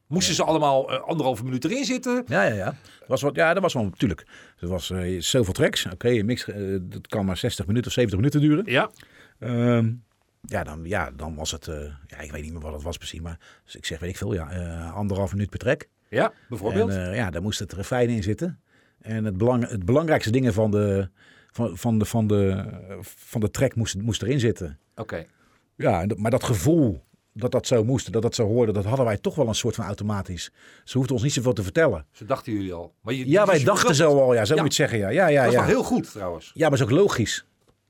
Moesten ze allemaal eh, anderhalve minuut erin zitten?
Ja, ja, ja. Dat was wat, ja, dat was wel natuurlijk. Er was eh, zoveel tracks. Oké, een mix, eh, dat kan maar 60 minuten of 70 minuten duren.
Ja.
Ehm, ja, dan, ja, dan was het. eh, ja, ik weet niet meer wat het was precies, maar dus ik zeg, weet ik veel, ja, eh anderhalf minuut per trek.
Ja, bijvoorbeeld.
En eh, ja, daar moest het refijn in zitten. En het, belang, het belangrijkste dingen van de, van, van de, van de, eh, van de track moest, moest erin zitten.
Oké.
Ja, en dat- maar dat gevoel dat dat zo moest, dat dat zo hoorde, dat hadden wij toch wel een soort van automatisch. Ze hoefden ons niet zoveel te vertellen.
Zo dachten jullie al. Maar je,
Ja,
dus
wij
je-
dachten zo al, ja, zo
Ja.
moet je het zeggen, ja. Ja, ja,
Dat is
ja.
wel heel goed trouwens.
ja, maar is ook logisch.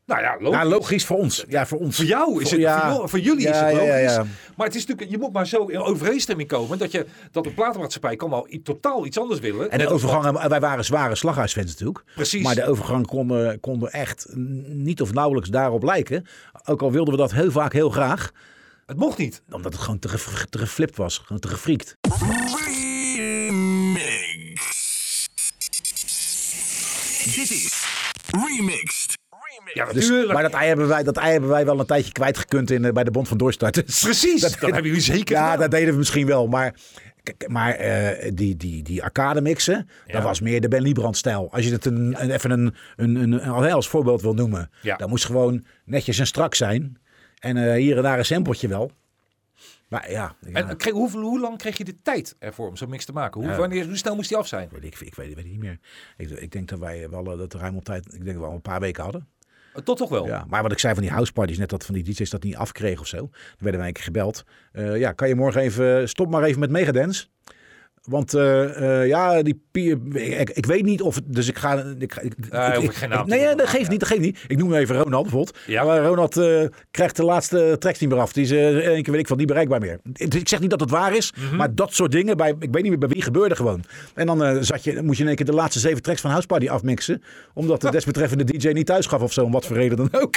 Nou ja, logisch.
Ja, logisch voor ons. Ja, voor ons.
Voor jou is het,
Ja.
voor, jou- voor jullie is
Ja,
het
ja,
logisch.
ja, ja.
Maar het is natuurlijk, je moet maar zo in overeenstemming komen dat, je, dat de platenmaatschappij kan wel i- totaal iets anders willen.
En
Net
de
als
overgang, wij waren zware slaghuisfans natuurlijk.
Precies.
Maar de overgang kon, eh, kon er echt niet of nauwelijks daarop lijken. Ook al wilden we dat heel vaak heel graag.
dat- het mocht niet.
Omdat het gewoon te, ge- te geflipt was. Gewoon te gefriekt.
Remix. Dit is Remixed.
Ja,
Dus,
natuurlijk.
maar dat ei, hebben wij, dat ei hebben wij wel een tijdje kwijtgekund in, eh, bij de Bond van Doorstarters.
Precies, dat, hebben jullie zeker
Ja,
gedaan.
dat deden we misschien wel. Maar, kijk, maar eh, die, die, die arcade mixen, dat was meer de Ben Liebrand stijl. Als je het een, een- even een, een, een, een- als voorbeeld wil noemen.
Ja.
Dan moest gewoon netjes en strak zijn. En eh, hier en daar een sampletje wel. Maar ja, ja,
En kreeg, hoe, hoe lang kreeg je de tijd ervoor om zo'n mix te maken? Hoe,
Ja.
wanneer, hoe snel moest die af zijn?
weet ik, ik weet het weet het niet meer. Ik, ik denk dat wij wel eh, dat ruim op tijd, ik denk dat we wel een paar weken hadden.
Eh, Tot toch wel?
Ja, maar wat ik zei van die houseparties, net dat van die DJ's dat niet afkregen of zo. Dan werden wij een keer gebeld. Eh, ja, kan je morgen even, stop maar even met Megadance. Want eh, eh, ja, die Pier- ik, ik weet niet of... Dus ik ga... Ik, ga- ik,
Ah, hoef ik geen naam te
Nee,
noemen.
dat geeft
Ja.
niet, dat geeft niet. Ik noem even Ronald bijvoorbeeld.
Ja.
Maar Ronald eh, krijgt de laatste tracks niet meer af. Die is eh één keer, weet ik van, niet bereikbaar meer. Dus ik zeg niet dat het waar is, maar dat soort dingen, bij, ik weet niet meer bij wie, gebeurde gewoon. En dan eh, zat je, moest je in één keer de laatste zeven tracks van House Party afmixen. Omdat de desbetreffende DJ niet thuis gaf of zo, om wat voor reden dan ook.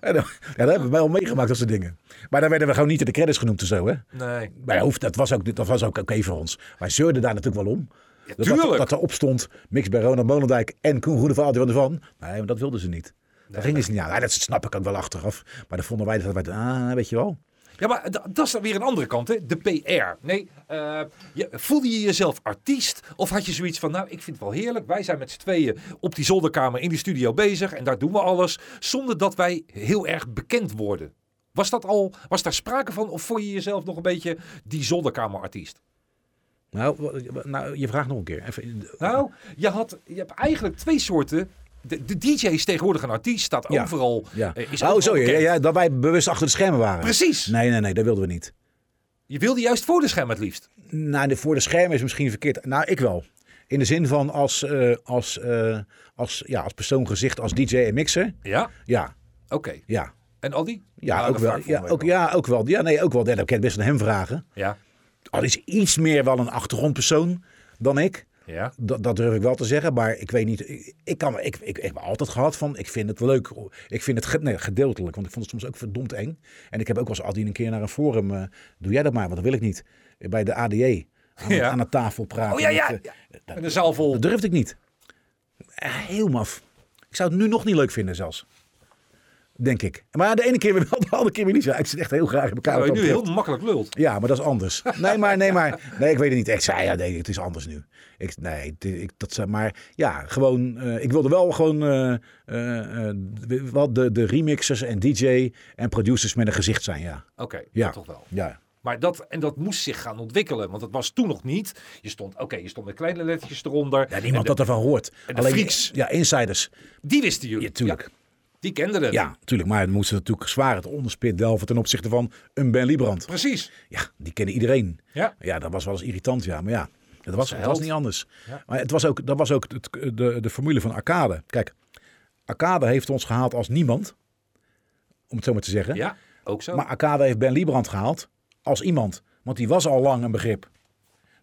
en, dan- ja, dat hebben we wel meegemaakt, dat soort dingen. Maar dan werden we gewoon niet in de credits genoemd en zo, hè.
Nee.
Maar ja, hoeft, dat was ook, dat was ook oké voor ons. Wij zeurden daar natuurlijk wel om. dat, dat,
tuurlijk.
dat erop stond, mix bij Ronald Molendijk en Koen Groene van Adrian de Van. Nee, maar dat wilden ze niet. Daar gingen ze niet aan. Ja, dat snap ik ook wel achteraf. Maar dan vonden wij dat wij, ah, weet je wel.
Ja, maar da- dat is dan weer een andere kant, hè? De PR. Nee, eh, je, voelde je jezelf artiest? Of had je zoiets van, nou, ik vind het wel heerlijk. Wij zijn met z'n tweeën op die zolderkamer in die studio bezig. En daar doen we alles. Zonder dat wij heel erg bekend worden. Was dat al, was daar sprake van? Of vond je jezelf nog een beetje die zolderkamerartiest?
Nou, w- nou je vraagt nog een keer. Even,
Nou, je, had, je hebt eigenlijk twee soorten. De, de DJ is tegenwoordig een artiest, staat
Ja.
overal.
ja.
eh, Is
Oh,
overal
zo. Ja,
bekend.
ja, dat wij bewust achter de schermen waren.
Precies.
Nee, nee, nee, dat wilden we niet.
Je wilde juist voor de scherm het liefst.
Nou, de, voor de schermen is misschien verkeerd. Nou, ik wel. In de zin van als, eh, als, eh, als, ja, als persoon gezicht, als DJ en mixer.
Ja,
Ja,
oké.
ja.
En Aldi?
Ja,
Nou,
ook
dat
wel.
vraag ik
Ja,
volgende
ook,
week
ja, ook wel. Ja, nee, ook wel. Ja, dan kan je best aan hem vragen.
wel.
Al is iets meer wel een achtergrondpersoon dan ik.
Ja, ja.
Dat, dat durf ik wel te zeggen, maar ik weet niet. Ik, ik, kan, ik, ik, ik heb altijd gehad van, ik vind het leuk. Ik vind het ge- nee, gedeeltelijk, want ik vond het soms ook verdomd eng. En ik heb ook als Adien een keer naar een forum. eh, doe jij dat maar, want dat wil ik niet. Bij de ADE. Aan,
Ja.
aan de tafel praten.
Oh ja, ja.
met, eh,
ja. En de zaal vol.
Dat durfde ik niet. Eh, Heel maf. Ik zou het nu nog niet leuk vinden zelfs. Denk ik. Maar de ene keer weer wel, de andere keer weer niet. Ja, ik zit echt heel graag in elkaar.
Ja,
wat
je
dat
nu
betreft.
heel makkelijk lult.
Ja, maar dat is anders. Nee, maar, nee, maar, nee ik weet het niet. Ik zei, ja, nee, het is anders nu. Ik, nee, het- ik, dat, zei- maar ja, gewoon, eh, ik wilde wel gewoon eh, eh, eh, wat de, de remixers en DJ en producers met een gezicht zijn, ja.
Oké,
Ja.
dat toch wel.
Ja,
Maar dat, en dat moest zich gaan ontwikkelen, want dat was toen nog niet. Je stond, oké, je stond met kleine lettertjes eronder.
ja
En
niemand
de-
dat ervan hoort.
en de
Alleen
freaks.
Ja, insiders.
Die wisten jullie.
Ja, tuurlijk.
die kenden het.
Ja, tuurlijk. Maar dan moesten ze natuurlijk zwaar het onderspit delven ten opzichte van een Ben Liebrand.
Precies.
Ja, die kennen iedereen.
Ja.
Ja, dat was wel eens irritant, ja. Maar ja, dat was, het was
held.
niet anders.
Ja.
Maar het was ook, dat was ook het, de, de formule van Arcade. Kijk, Arcade heeft ons gehaald als niemand. Om het zo maar te zeggen.
Ja, ook zo.
Maar Arcade heeft Ben Liebrand gehaald als iemand. Want die was al lang een begrip.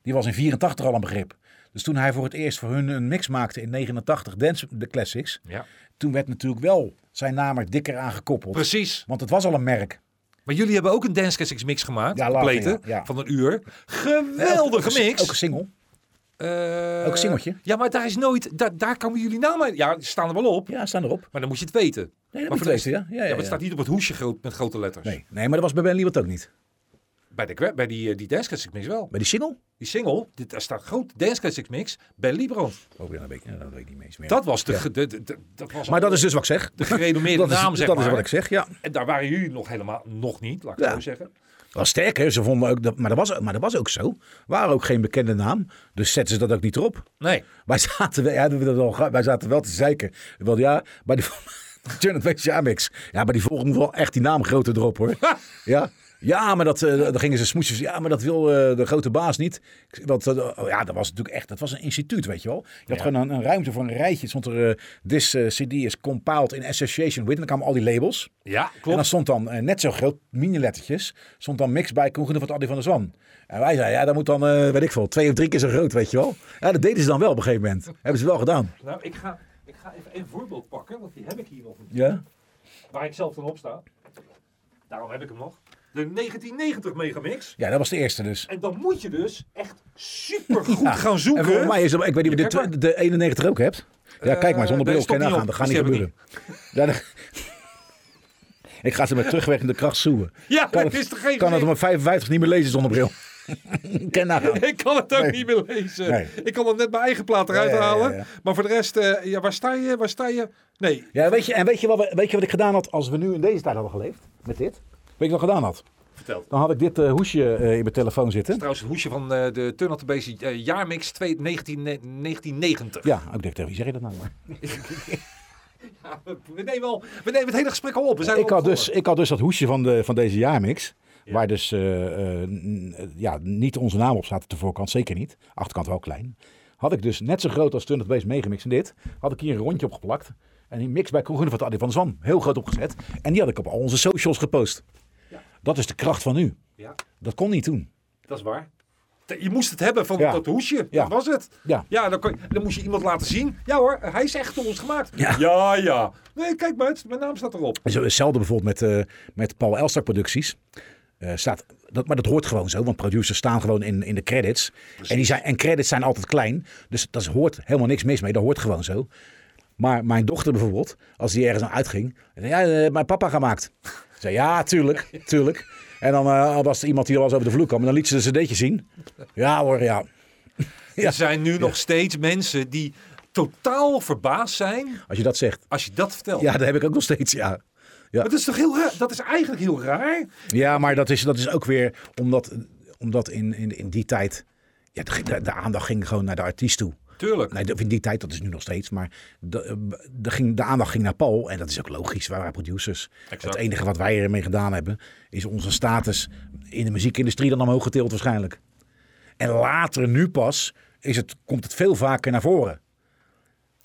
Die was in 84 al een begrip. Dus toen hij voor het eerst voor hun een mix maakte in 89, Dance de Classics.
ja.
Toen werd natuurlijk wel zijn naam er dikker aangekoppeld.
Precies.
Want het was al een merk.
Maar jullie hebben ook een Dance Classics mix gemaakt.
Ja, later,
complete,
ja, ja.
Van een uur.
Ook
Geweldige
een-
mix.
Ook een single.
Eh,
ook een singeltje.
Ja, maar daar is nooit... Daar, daar komen jullie namen... Ja, ze staan er wel op.
Ja, staan erop.
Maar dan moet je het weten.
Nee, dat
maar
moet
voor
je
de
weten,
rest-
ja. Ja, ja,
maar het
ja.
staat niet op het hoesje groot, met grote letters.
Nee, nee, maar dat was bij Ben Liebert ook niet.
Bij, de, que- bij die, eh, die Dance Classics mix wel.
Bij die single?
Die single, dit, daar staat groot Dance Classics Mix bij Librand.
Oh, ja, dat weet ik, ja, dat weet ik niet meer eens meer.
Dat was de, ge- de- de- de- dat was
maar dat is dus wat ik zeg.
de gerenommeerde
dat
naam,
is,
zeg
dat
maar.
is wat ik zeg, ja.
En daar waren jullie nog helemaal nog niet, laat ik het
Ja.
zo zeggen.
Dat was sterk, hè. Ze vonden ook dat, maar, dat was, maar dat was ook zo. Waren ook geen bekende naam. Dus zetten ze dat ook niet erop.
Nee.
Wij zaten, wel- ja, doen we dat al, ga- wij zaten wel te zeiken. Wel, ja, bij die Turn Adventures Jamix. Ja, maar die volgende moet wel echt die naam groter erop, hoor. ja. Ja, maar dat, eh, dan gingen ze smoesjes. Ja, maar dat wil eh, de grote baas niet. Ik- Want eh, oh ja, dat was natuurlijk echt. Dat was een instituut, weet je wel. Je had gewoon een, een ruimte voor een rijtje. Stond er. eh this eh, CD is compiled in association with. En dan kwamen al die labels.
Ja,
En
klopt.
dan stond dan eh, net zo groot, mini-lettertjes, stond dan mix bij Koen Groene van het Addy van der Zwan. En wij zeiden, ja, dat moet dan, eh, weet ik veel, twee of drie keer zo groot, weet je wel. Ja, dat deden ze dan wel op een gegeven moment. Hebben ze wel gedaan.
Nou, ik ga, ik ga even een voorbeeld pakken, want die heb ik hier nog niet.
Ja?
Waar ik zelf dan op sta. Daarom heb ik hem nog. De 1990 Megamix.
Ja, dat was de eerste dus.
En dan moet je dus echt supergoed
Ja.
gaan
En
zoeken.
volgens mij is dat, ik weet niet of
Kijk
je de,
maar.
de 91 ook hebt. Ja,
Eh,
kijk maar, zonder
nee,
bril
stond
kan je
niet op.
nagaan, dat gaat niet
Dus die heb
gebeuren. Ja, dat- ik ga ze met terugwerkende kracht zoeken.
Ja,
Kan
dat
het-
is er geen
Kan
gezicht.
het om een 55 niet meer lezen zonder bril. Ken nagaan.
Ik kan het ook
Nee.
niet meer lezen.
Nee.
Ik kan hem net mijn eigen plaat eruit
Ja, ja, ja,
halen.
ja.
Maar voor de rest, eh, ja, waar sta je? Waar sta je? Nee.
Ja, weet je, en weet je, wat, we- weet je wat ik gedaan had als we nu in deze tijd hadden geleefd? Met dit? Weet je wat ik gedaan had?
Vertel.
Dan had ik dit eh, hoesje eh, in mijn telefoon zitten.
Trouwens, het hoesje van eh, de Turn Out The Basic eh, jaarmix 2 19 1990.
Ja, ook denk ik tegen wie zeg je dat nou? Maar?
We, nemen al, we nemen het hele gesprek al op. We zijn
Ik,
al
had dus,
begonnen.
ik had dus dat hoesje van, de, van deze jaarmix. Waar dus eh, eh, n- eh, ja, niet onze naam op staat op de voorkant, zeker niet. Achterkant wel klein. Had ik dus net zo groot als 20 Base meegemixt in dit. Had ik hier een rondje opgeplakt. En die mix bij Kroegen van Adi van Zwan heel groot opgezet. En die had ik op al onze socials gepost. Dat is de kracht van nu.
Ja,
Dat kon niet toen.
dat is waar. Te- Je moest het hebben van
Ja.
dat hoesje.
Ja.
Dat was het.
Ja.
Ja, dan, kon- dan moest je iemand laten zien. Ja hoor, hij is echt door ons gemaakt.
Ja.
ja. ja. Nee, kijk maar, het- mijn naam staat erop.
Zo, Hetzelfde bijvoorbeeld met, eh, met Paul Elstak producties. Eh, staat, dat, maar dat hoort gewoon zo, want producers staan gewoon in, in de credits. En, die zijn, en credits zijn altijd klein, dus daar hoort helemaal niks mis mee. Dat hoort gewoon zo. Maar mijn dochter bijvoorbeeld, als die ergens aan uitging... Zei, ja, eh, mijn papa gemaakt. Ik zei, ja, tuurlijk, tuurlijk. En dan eh, was er iemand die al eens over de vloer kwam... en dan liet ze de cd'tje zien. Ja hoor, ja. Ja.
Er zijn nu nog steeds mensen die totaal verbaasd zijn
Als je dat zegt.
als je dat vertelt.
Ja, dat heb ik ook nog steeds, ja. Ja.
Maar dat is toch heel raar? Dat is eigenlijk heel raar.
Ja, maar dat is, dat is ook weer omdat, omdat in, in, in die tijd. Ja, de, de- de aandacht ging gewoon naar de artiest toe.
Tuurlijk.
Nee, of in die tijd, dat is nu nog steeds. Maar de, eh, de, ging, de aandacht ging naar Paul. En dat is ook logisch. Wij waren producers.
Exact.
Het enige wat wij ermee gedaan hebben. is onze status in de muziekindustrie dan omhoog getild, waarschijnlijk. En later, nu pas, is het, komt het veel vaker naar voren.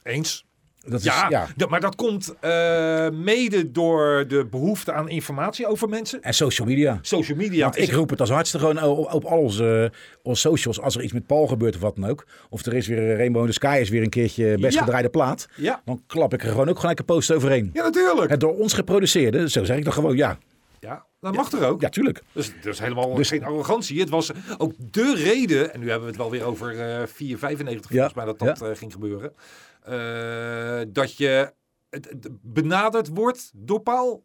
Eens.
Dat is,
Ja,
ja.
d- maar dat komt eh, mede door de behoefte aan informatie over mensen.
En social media.
Social media.
Want
is-
ik roep het als hartstikke gewoon op, op al onze, onze socials. Als er iets met Paul gebeurt of wat dan ook. Of er is weer eh, Rainbow in the Sky is weer een keertje best
Ja.
gedraaide plaat.
Ja.
Dan klap ik er gewoon ook gelijk een post overheen.
Ja, natuurlijk.
Het door ons geproduceerde, zo zeg ik dan gewoon ja.
Ja, dat mag er ook.
Ja, tuurlijk.
Dus dat is helemaal
Dus-
geen arrogantie. Het was ook de reden, en nu hebben we het wel weer over eh 4,95 volgens mij dat dat eh, ging gebeuren. eh, dat je het- het benaderd wordt door Paul.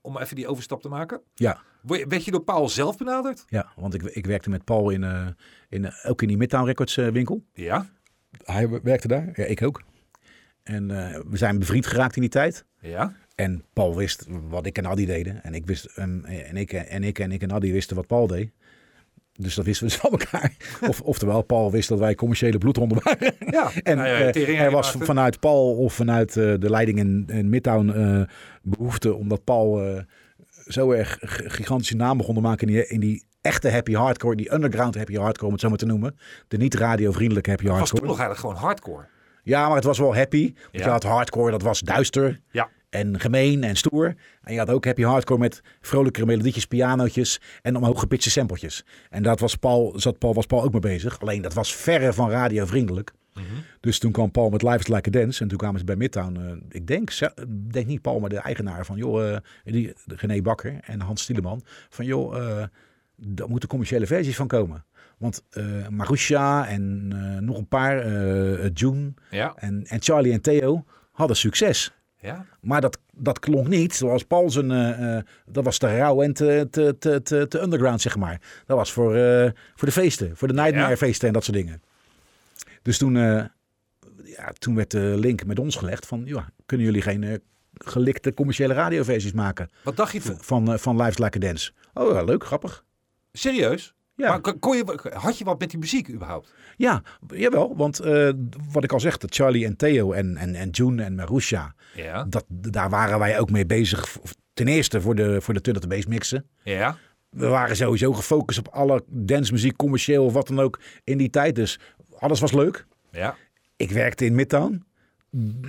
Om even die overstap te maken.
Ja,
Word je- Werd je door Paul zelf benaderd?
ja want ik, ik werkte met Paul in, eh, in, eh, ook in die Midtown Records eh, winkel.
Ja.
Hij werkte daar. Ja, ik ook. En eh, we zijn bevriend geraakt in die tijd.
Ja.
En Paul wist wat ik en Addy deden. En ik, wist, ehm, en ik, en ik en ik en Addy wisten wat Paul deed. Dus dat wisten we dus van elkaar. Of, oftewel, Paul wist dat wij commerciële bloedhonden waren.
ja.
En
Nou ja,
eh,
tering
er was
maakte.
vanuit Paul of vanuit eh, de leiding in, in Midtown eh, behoefte. Omdat Paul eh, zo erg g- gigantische naam begon te maken in die, in die echte happy hardcore. Die underground happy hardcore, om het zo maar te noemen. De niet radiovriendelijke happy
was toen
hardcore.
nog eigenlijk gewoon hardcore.
Ja, maar het was wel happy. Want
Ja.
je had hardcore, dat was duister
Ja.
en gemeen en stoer. En je had ook happy hardcore met vrolijkere melodietjes, pianootjes en omhoog gepitste sampletjes. En dat was Paul, zat Paul, was Paul ook mee bezig. Alleen dat was verre van radiovriendelijk. Dus toen kwam Paul met Live is Like a Dance. En toen kwamen ze bij Midtown, eh, ik denk, ze- ik denk niet Paul, maar de eigenaar van, joh, eh, die, de René Bakker en Hans Stieleman. Van, joh, eh, daar moeten commerciële versies van komen. Want eh Marusha en eh, nog een paar, eh June
Ja.
en, en Charlie en Theo hadden succes.
Ja.
Maar dat, dat klonk niet zoals Paul zijn... eh, eh, dat was te rauw en te, te, te, te, te underground, zeg maar. Dat was voor, eh, voor de feesten. Voor de nightmare feesten en dat soort dingen. Dus toen, eh, ja, toen werd de link met ons gelegd van... Ja, kunnen jullie geen eh, gelikte commerciële radioversies maken
Wat dacht je toen?
van, eh, van Life's Like a Dance? Oh, ja, leuk, grappig.
Serieus?
Ja.
Maar kon- kon je, had je wat met die muziek überhaupt?
Ja, jawel. Want eh, wat ik al zeg, dat Charlie en Theo en, en, en June en Marusha...
Ja.
Dat, daar waren wij ook mee bezig. v- Ten eerste voor de, voor de Turn of the Bass mixen.
Ja.
we waren sowieso gefocust op alle dancemuziek, commercieel of wat dan ook in die tijd. Dus alles was leuk.
Ja.
Ik werkte in Midtown.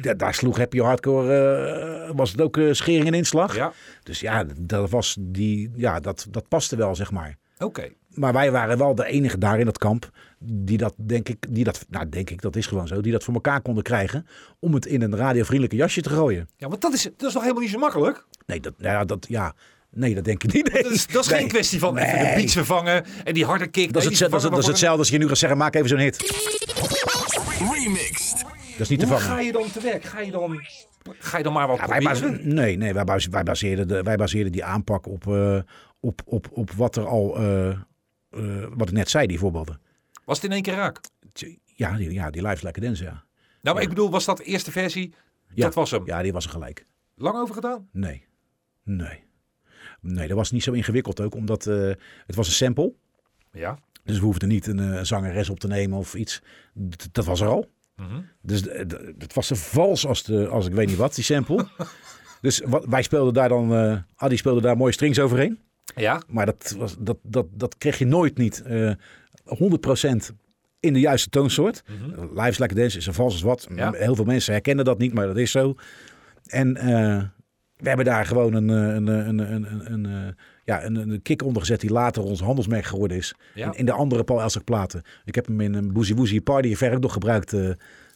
Da- daar sloeg Happy Hardcore, eh, was het ook eh, schering en inslag.
Ja.
Dus ja, dat, was die, ja dat, dat paste wel, zeg maar.
Oké.
Maar wij waren wel de enige daar in dat kamp die dat, denk ik, die dat, nou denk ik, dat is gewoon zo, die dat voor elkaar konden krijgen om het in een radiovriendelijke jasje te gooien.
Ja, want dat is, dat is nog helemaal niet zo makkelijk.
Nee, dat, nou ja, dat, ja, nee, dat denk ik niet.
Dat is, dat is
Nee.
geen kwestie van even de
Nee.
beats vervangen en die harde kick.
Dat is, het, dat, is, dat is hetzelfde als je nu gaat zeggen, maak even zo'n hit.
Remixed.
Dat is niet te
Hoe
vangen.
ga je dan te werk? Ga je dan, ga je dan maar wat
Ja, wij
proberen?
base- nee, nee wij, base- wij, baseerden de, wij baseerden die aanpak op, eh, op, op, op wat er al, eh, eh, wat ik net zei, die voorbeelden.
Was het in één keer raak?
Tj- Ja, die, ja, die live lekker dance, ja.
Nou, maar ik bedoel, was dat de eerste versie?
ja.
Dat was hem.
Ja, die was er gelijk.
Lang over gedaan?
Nee. Nee. Nee, dat was niet zo ingewikkeld ook, omdat eh, het was een sample.
Ja.
Dus we hoefden niet een eh, zangeres op te nemen of iets. D- dat was er al.
Mhm.
Dus d- d- het was zo vals als, de, als ik weet niet wat, die sample. dus wat, wij speelden daar dan, eh Adi speelde daar mooie strings overheen.
Ja,
Maar dat, was, dat, dat, dat kreeg je nooit niet eh 100% in de juiste toonsoort. Lives Like a Dance is een vals als wat.
Mhm. Ja.
Heel veel mensen herkennen dat niet, maar dat is zo. En eh, we hebben daar gewoon een, eh, een, eh, een, een, een, een, eh, ja, een, een kick onder gezet die later ons handelsmerk geworden is.
Ja.
In, in de andere Paul Elstak platen. Ik heb hem in een Boozy Woozy Party Fair ook nog gebruikt. eh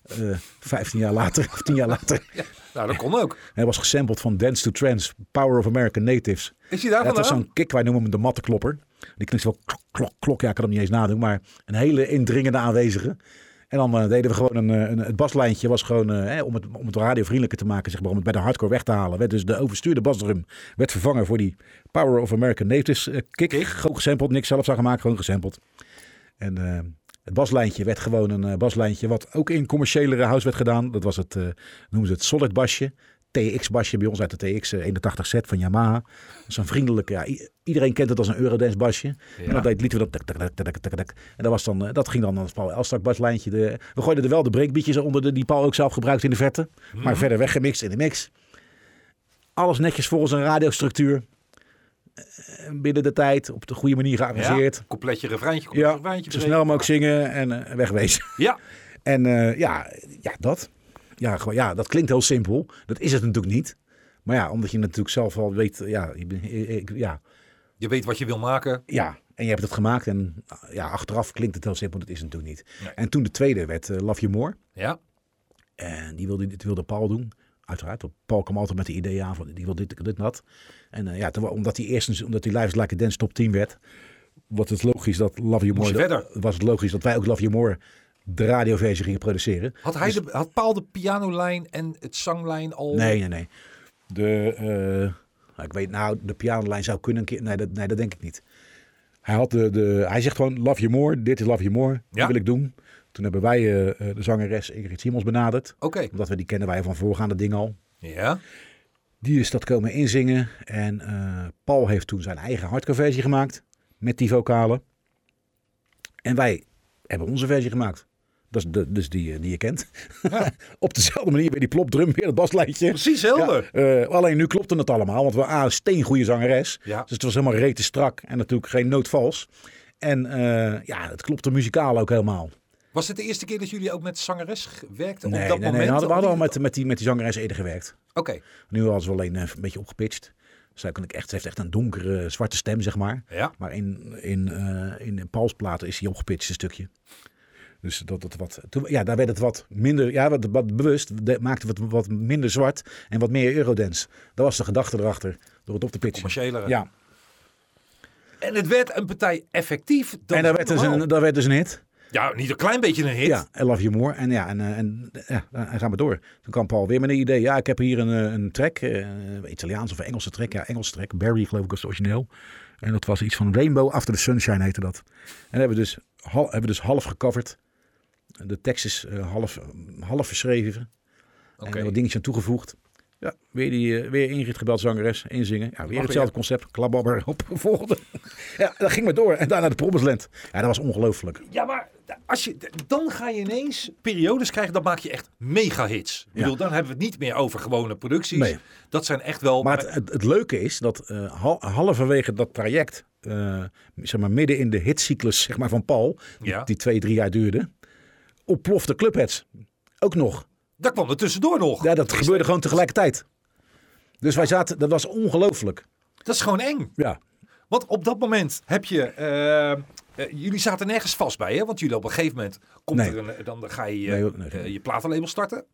eh 15 jaar later of 10 jaar later.
nou dat kon ook.
Hij was gesampled van Dance to Trance, Power of American Natives.
Is hij daar
Dat was
vandaan?
zo'n kick, wij noemen hem de mattenklopper. Die klinkt wel klok, klok, klok. Ja, ik kan hem niet eens nadoen, maar een hele indringende aanwezige. En dan eh, deden we gewoon een, eh, een het baslijntje was gewoon, eh, hè, om, het, om het radiovriendelijker te maken, zeg maar, om het bij de hardcore weg te halen. Werd dus de overstuurde basdrum werd vervangen voor die Power of American Natives eh, kick. Gewoon gesampled, niks zelf aan gemaakt, gewoon gesampled. En eh, het baslijntje werd gewoon een eh, baslijntje wat ook in commerciëlere house werd gedaan. Dat was het, eh noemen ze het solid basje. TX-basje bij ons uit de TX 81 set van Yamaha. Zo'n vriendelijke, ja, i- iedereen kent het als een Eurodance-basje. En dat deed, lieten we dat. tak, tak, tak, tak, tak, tak. En dat, was dan, eh, dat ging dan als Paul Elstak-baslijntje. De, we gooiden er wel de breakbeatjes onder, de, die Paul ook zelf gebruikte in de verte. Maar verder weggemixt in de mix. Alles netjes volgens een radiostructuur. Eh, Binnen de tijd, op de goede manier gearrangeerd.
Ja, Coupletje, refreintje,
Ja,
coupletje, refreintje.
zo snel mogelijk zingen en eh, wegwezen.
Ja,
En eh, ja, ja, dat. Ja, gewoon, ja, dat klinkt heel simpel. Dat is het natuurlijk niet. Maar ja, omdat je natuurlijk zelf al weet, ja, je bent- ik- ik- ja,
je weet wat je wil maken.
ja. En je hebt het gemaakt en ah, ja, achteraf klinkt het heel simpel, dat is het natuurlijk niet.
Nee.
En toen de tweede werd eh, Love You More.
Ja,
En die wilde, dit wilde Paul doen, uiteraard. Want Paul kwam altijd met de ideeën aan van, die wil dit, dit en dat. En eh, ja, toen- omdat hij eerst, omdat hij Lives Like a Dance top 10 werd, was het logisch dat Love You
Moest
More,
je verder.
was het logisch dat wij ook Love You More de radioversie gingen produceren.
had, hij de, had Paul de pianolijn en het zanglijn al...
Dus- Nee, nee, nee. De, eh, nou, ik weet nou, de pianolijn zou kunnen een keer. Nee, dat, nee, dat denk ik niet. Hij, had de, de, hij zegt gewoon, love you more, dit is love you more,
Ja.
dat wil ik doen. Toen hebben wij eh, eh, de zangeres Ingrid Simons benaderd.
Oké,
Omdat we die kennen wij van voorgaande dingen al.
ja.
Die is dat komen inzingen. En eh, Paul heeft toen zijn eigen hardcoverversie gemaakt. Met die vocalen. En wij hebben onze versie gemaakt. Dat is de, dus die, eh, die je kent. Op dezelfde manier weer die plopdrum, weer dat baslijntje.
Precies, helder.
Ja, eh, alleen nu klopte het allemaal, want we A, een steengoede zangeres.
Ja.
Dus het was helemaal rete strak en natuurlijk geen noot vals. En eh, ja, het klopte muzikaal ook helemaal.
Was het de eerste keer dat jullie ook met zangeres g- werkten?
Nee,
op dat
nee, nee,
moment?
we hadden, we hadden al
Of niet?
met, met, die, met die zangeres eerder gewerkt.
Oké,
Nu hadden ze alleen eh, een beetje opgepitcht. Zij kan ik echt, ze heeft echt een donkere zwarte stem, zeg maar.
ja.
Maar in, in, eh, in Pauls platen is hij opgepitcht een stukje. Dus dat, dat wat, toen, ja, daar werd het wat minder, ja, wat, wat bewust, de- maakte het wat minder zwart en wat meer Eurodance. Dat was de gedachte erachter, door het op te pitchen.
Commerciële.
Ja,
En het werd een partij effectief. dan
en daar werd, dus
normaal.
een, daar werd dus een hit.
Ja, niet een klein beetje een hit.
Ja, I Love You More. En ja, en, eh, en, ja, en gaan we door. Toen kwam Paul weer met een idee. Ja, ik heb hier een, eh, een track, eh, Italiaans of een Engelse track. Ja, Engelse track. Barry geloof ik was het origineel. En dat was iets van Rainbow After the Sunshine heette dat. En hebben we dus, hal, hebben we dus half gecoverd. De tekst is eh, half, half verschreven.
Oké.
En er wat dingetjes aan toegevoegd. Ja, weer, die, eh, weer Ingrid gebeld zangeres, inzingen. Ja, weer
weer.
hetzelfde concept, klababber, op, volgende. ja, dat ging maar door. En daarna de Promisland. Ja, dat was ongelooflijk.
Ja, maar als je, dan ga je ineens periodes krijgen, dan maak je echt mega hits. Ik
Ja.
bedoel, dan hebben we het niet meer over gewone producties.
Nee.
Dat zijn echt wel...
Maar het, het, het leuke is dat eh, hal- halverwege dat traject, eh, zeg maar midden in de hitcyclus zeg maar, van Paul, die-
Ja.
die twee, drie jaar duurde, ontplofte Clubheads. Ook nog.
Daar kwam er tussendoor nog.
Ja, dat gebeurde gewoon tegelijkertijd. Dus wij zaten, dat was ongelooflijk.
Dat is gewoon eng.
Ja.
Want op dat moment heb je... eh, eh, jullie zaten nergens vast bij, hè? Want jullie op een gegeven moment... Komt
Nee.
er een, dan ga je eh,
Nee, nee.
eh, je platenlabel starten.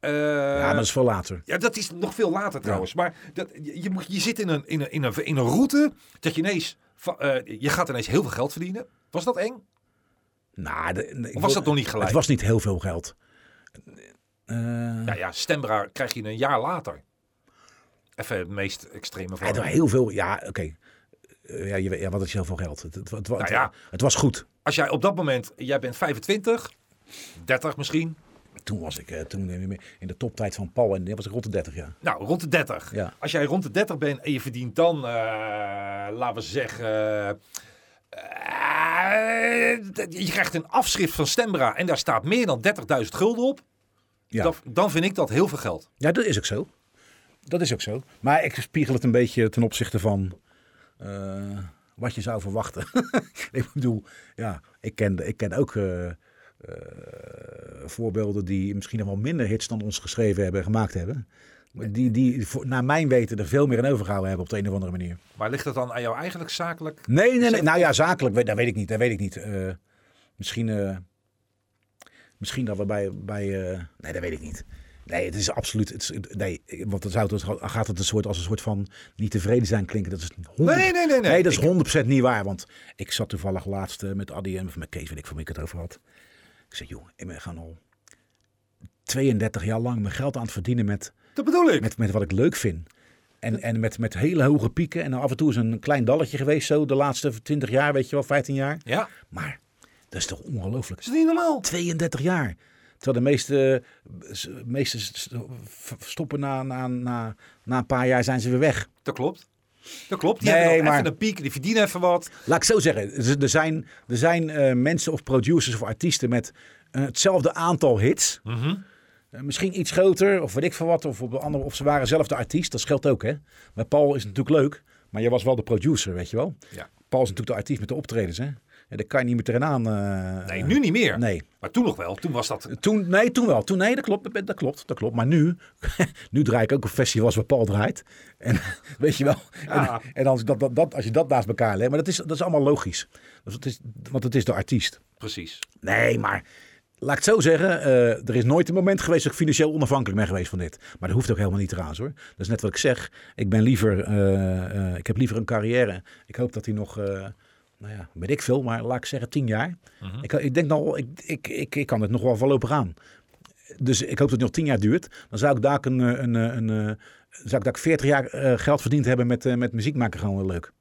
Eh,
ja, maar dat is veel later.
Ja, dat is nog veel later trouwens. Maar dat, je, je moet, je zit in een, in, een, in, een, in een route dat je ineens... va- eh, je gaat ineens heel veel geld verdienen. Was dat eng?
Nou, de- ik
Of
wil-
was dat nog niet gelijk?
Het was niet heel veel geld. Eh,
Nou ja, Stembra krijg je een jaar later. Even het meest extreme
het was
van.
heel veel, ja, oké. Eh, ja, je weet- ja, wat is heel veel geld? Het, het, het, het-
Nou ja.
het was goed.
Als jij op dat moment, jij bent 25, 30 misschien.
Toen was ik eh, toen in de toptijd van Paul en die was ik rond de 30 jaar.
Nou, rond de 30.
Ja.
Als jij rond de 30 bent en je verdient dan, eh, laten we zeggen... eh, eh, je krijgt een afschrift van Stembra en daar staat meer dan 30.000 gulden op.
Ja.
Dan, dan vind ik dat heel veel geld.
Ja, dat is ook zo. Dat is ook zo. Maar ik spiegel het een beetje ten opzichte van eh, wat je zou verwachten. ik bedoel, ja, ik ken, ik ken ook eh, eh, voorbeelden die misschien nog wel minder hits dan ons geschreven hebben en gemaakt hebben. Maar Die, die voor- naar mijn weten er veel meer aan overgehouden hebben op de een of andere manier.
Maar ligt dat dan aan jou eigenlijk zakelijk?
Nee, nee, nee. Nou ja, zakelijk, weet- dat weet ik niet. Dat weet ik niet. Eh, misschien, eh, misschien dat we bij... bij eh, nee, dat weet ik niet. Nee, het is absoluut... Het is, nee, want dan zou het, gaat het een soort, als een soort van niet tevreden zijn klinken. Dat is 100,
Nee, nee, nee, nee.
dat is 100% niet waar. Want ik zat toevallig laatst eh, met Adi en of met Kees, weet ik van wie ik het over had. Ik zei, joh, ik ben gaan al 32 jaar lang mijn geld aan het verdienen met
Dat bedoel ik.
met, met wat ik leuk vind. En, en met, met hele hoge pieken. En af en toe is een klein dalletje geweest zo de laatste 20 jaar, weet je wel, 15 jaar.
Ja, dat
Maar dat is toch ongelooflijk.
is niet normaal.
32 jaar. Terwijl de meeste, eh, s- meeste s- s- v- stoppen na, na, na, na een paar jaar zijn ze weer weg.
Dat klopt. Dat klopt. Die
Nee,
hebben dan
maar-
even een piek, die verdienen even wat.
Laat ik zo zeggen, er- er zijn, er zijn eh, mensen of producers of artiesten met eh, hetzelfde aantal hits. Eh, misschien iets groter, of weet ik veel wat. Of, op de andere, of ze waren zelf de artiest, dat scheelt ook hè. Maar Paul is natuurlijk leuk, maar jij was wel de producer, weet je wel.
Ja.
Paul is natuurlijk de artiest met de optredens hè. Ja, daar kan je niet meer tegenaan. eh,
Nee, nu niet meer.
Nee.
Maar toen nog wel. Toen was dat...
Toen, nee, toen wel. Toen, nee, dat klopt, dat- dat klopt, dat klopt. Maar nu, nu draai ik ook op festivals waar Paul draait. En weet je wel.
Ja.
En, en als, dat, dat, dat, als je dat naast elkaar legt. Maar dat is, dat is allemaal logisch. Dus het is, want het is de artiest.
Precies.
Nee, maar laat ik het zo zeggen. eh, er is nooit een moment geweest dat ik financieel onafhankelijk ben geweest van dit. Maar dat hoeft ook helemaal niet trouwens hoor. Dat is net wat ik zeg. Ik ben liever, eh, eh, ik heb liever een carrière. Ik hoop dat hij nog, eh, nou ja, weet ik veel, maar laat ik zeggen tien jaar. ik, ik denk nog, wel- ik, ik, ik, ik kan het nog wel voorlopig aan. Dus ik hoop dat het nog tien jaar duurt. Dan zou ik daar ook een, eh, een, eh, een, eh, zou ik daar ook 40 jaar eh, geld verdiend hebben met, eh, met muziek maken gewoon wel leuk.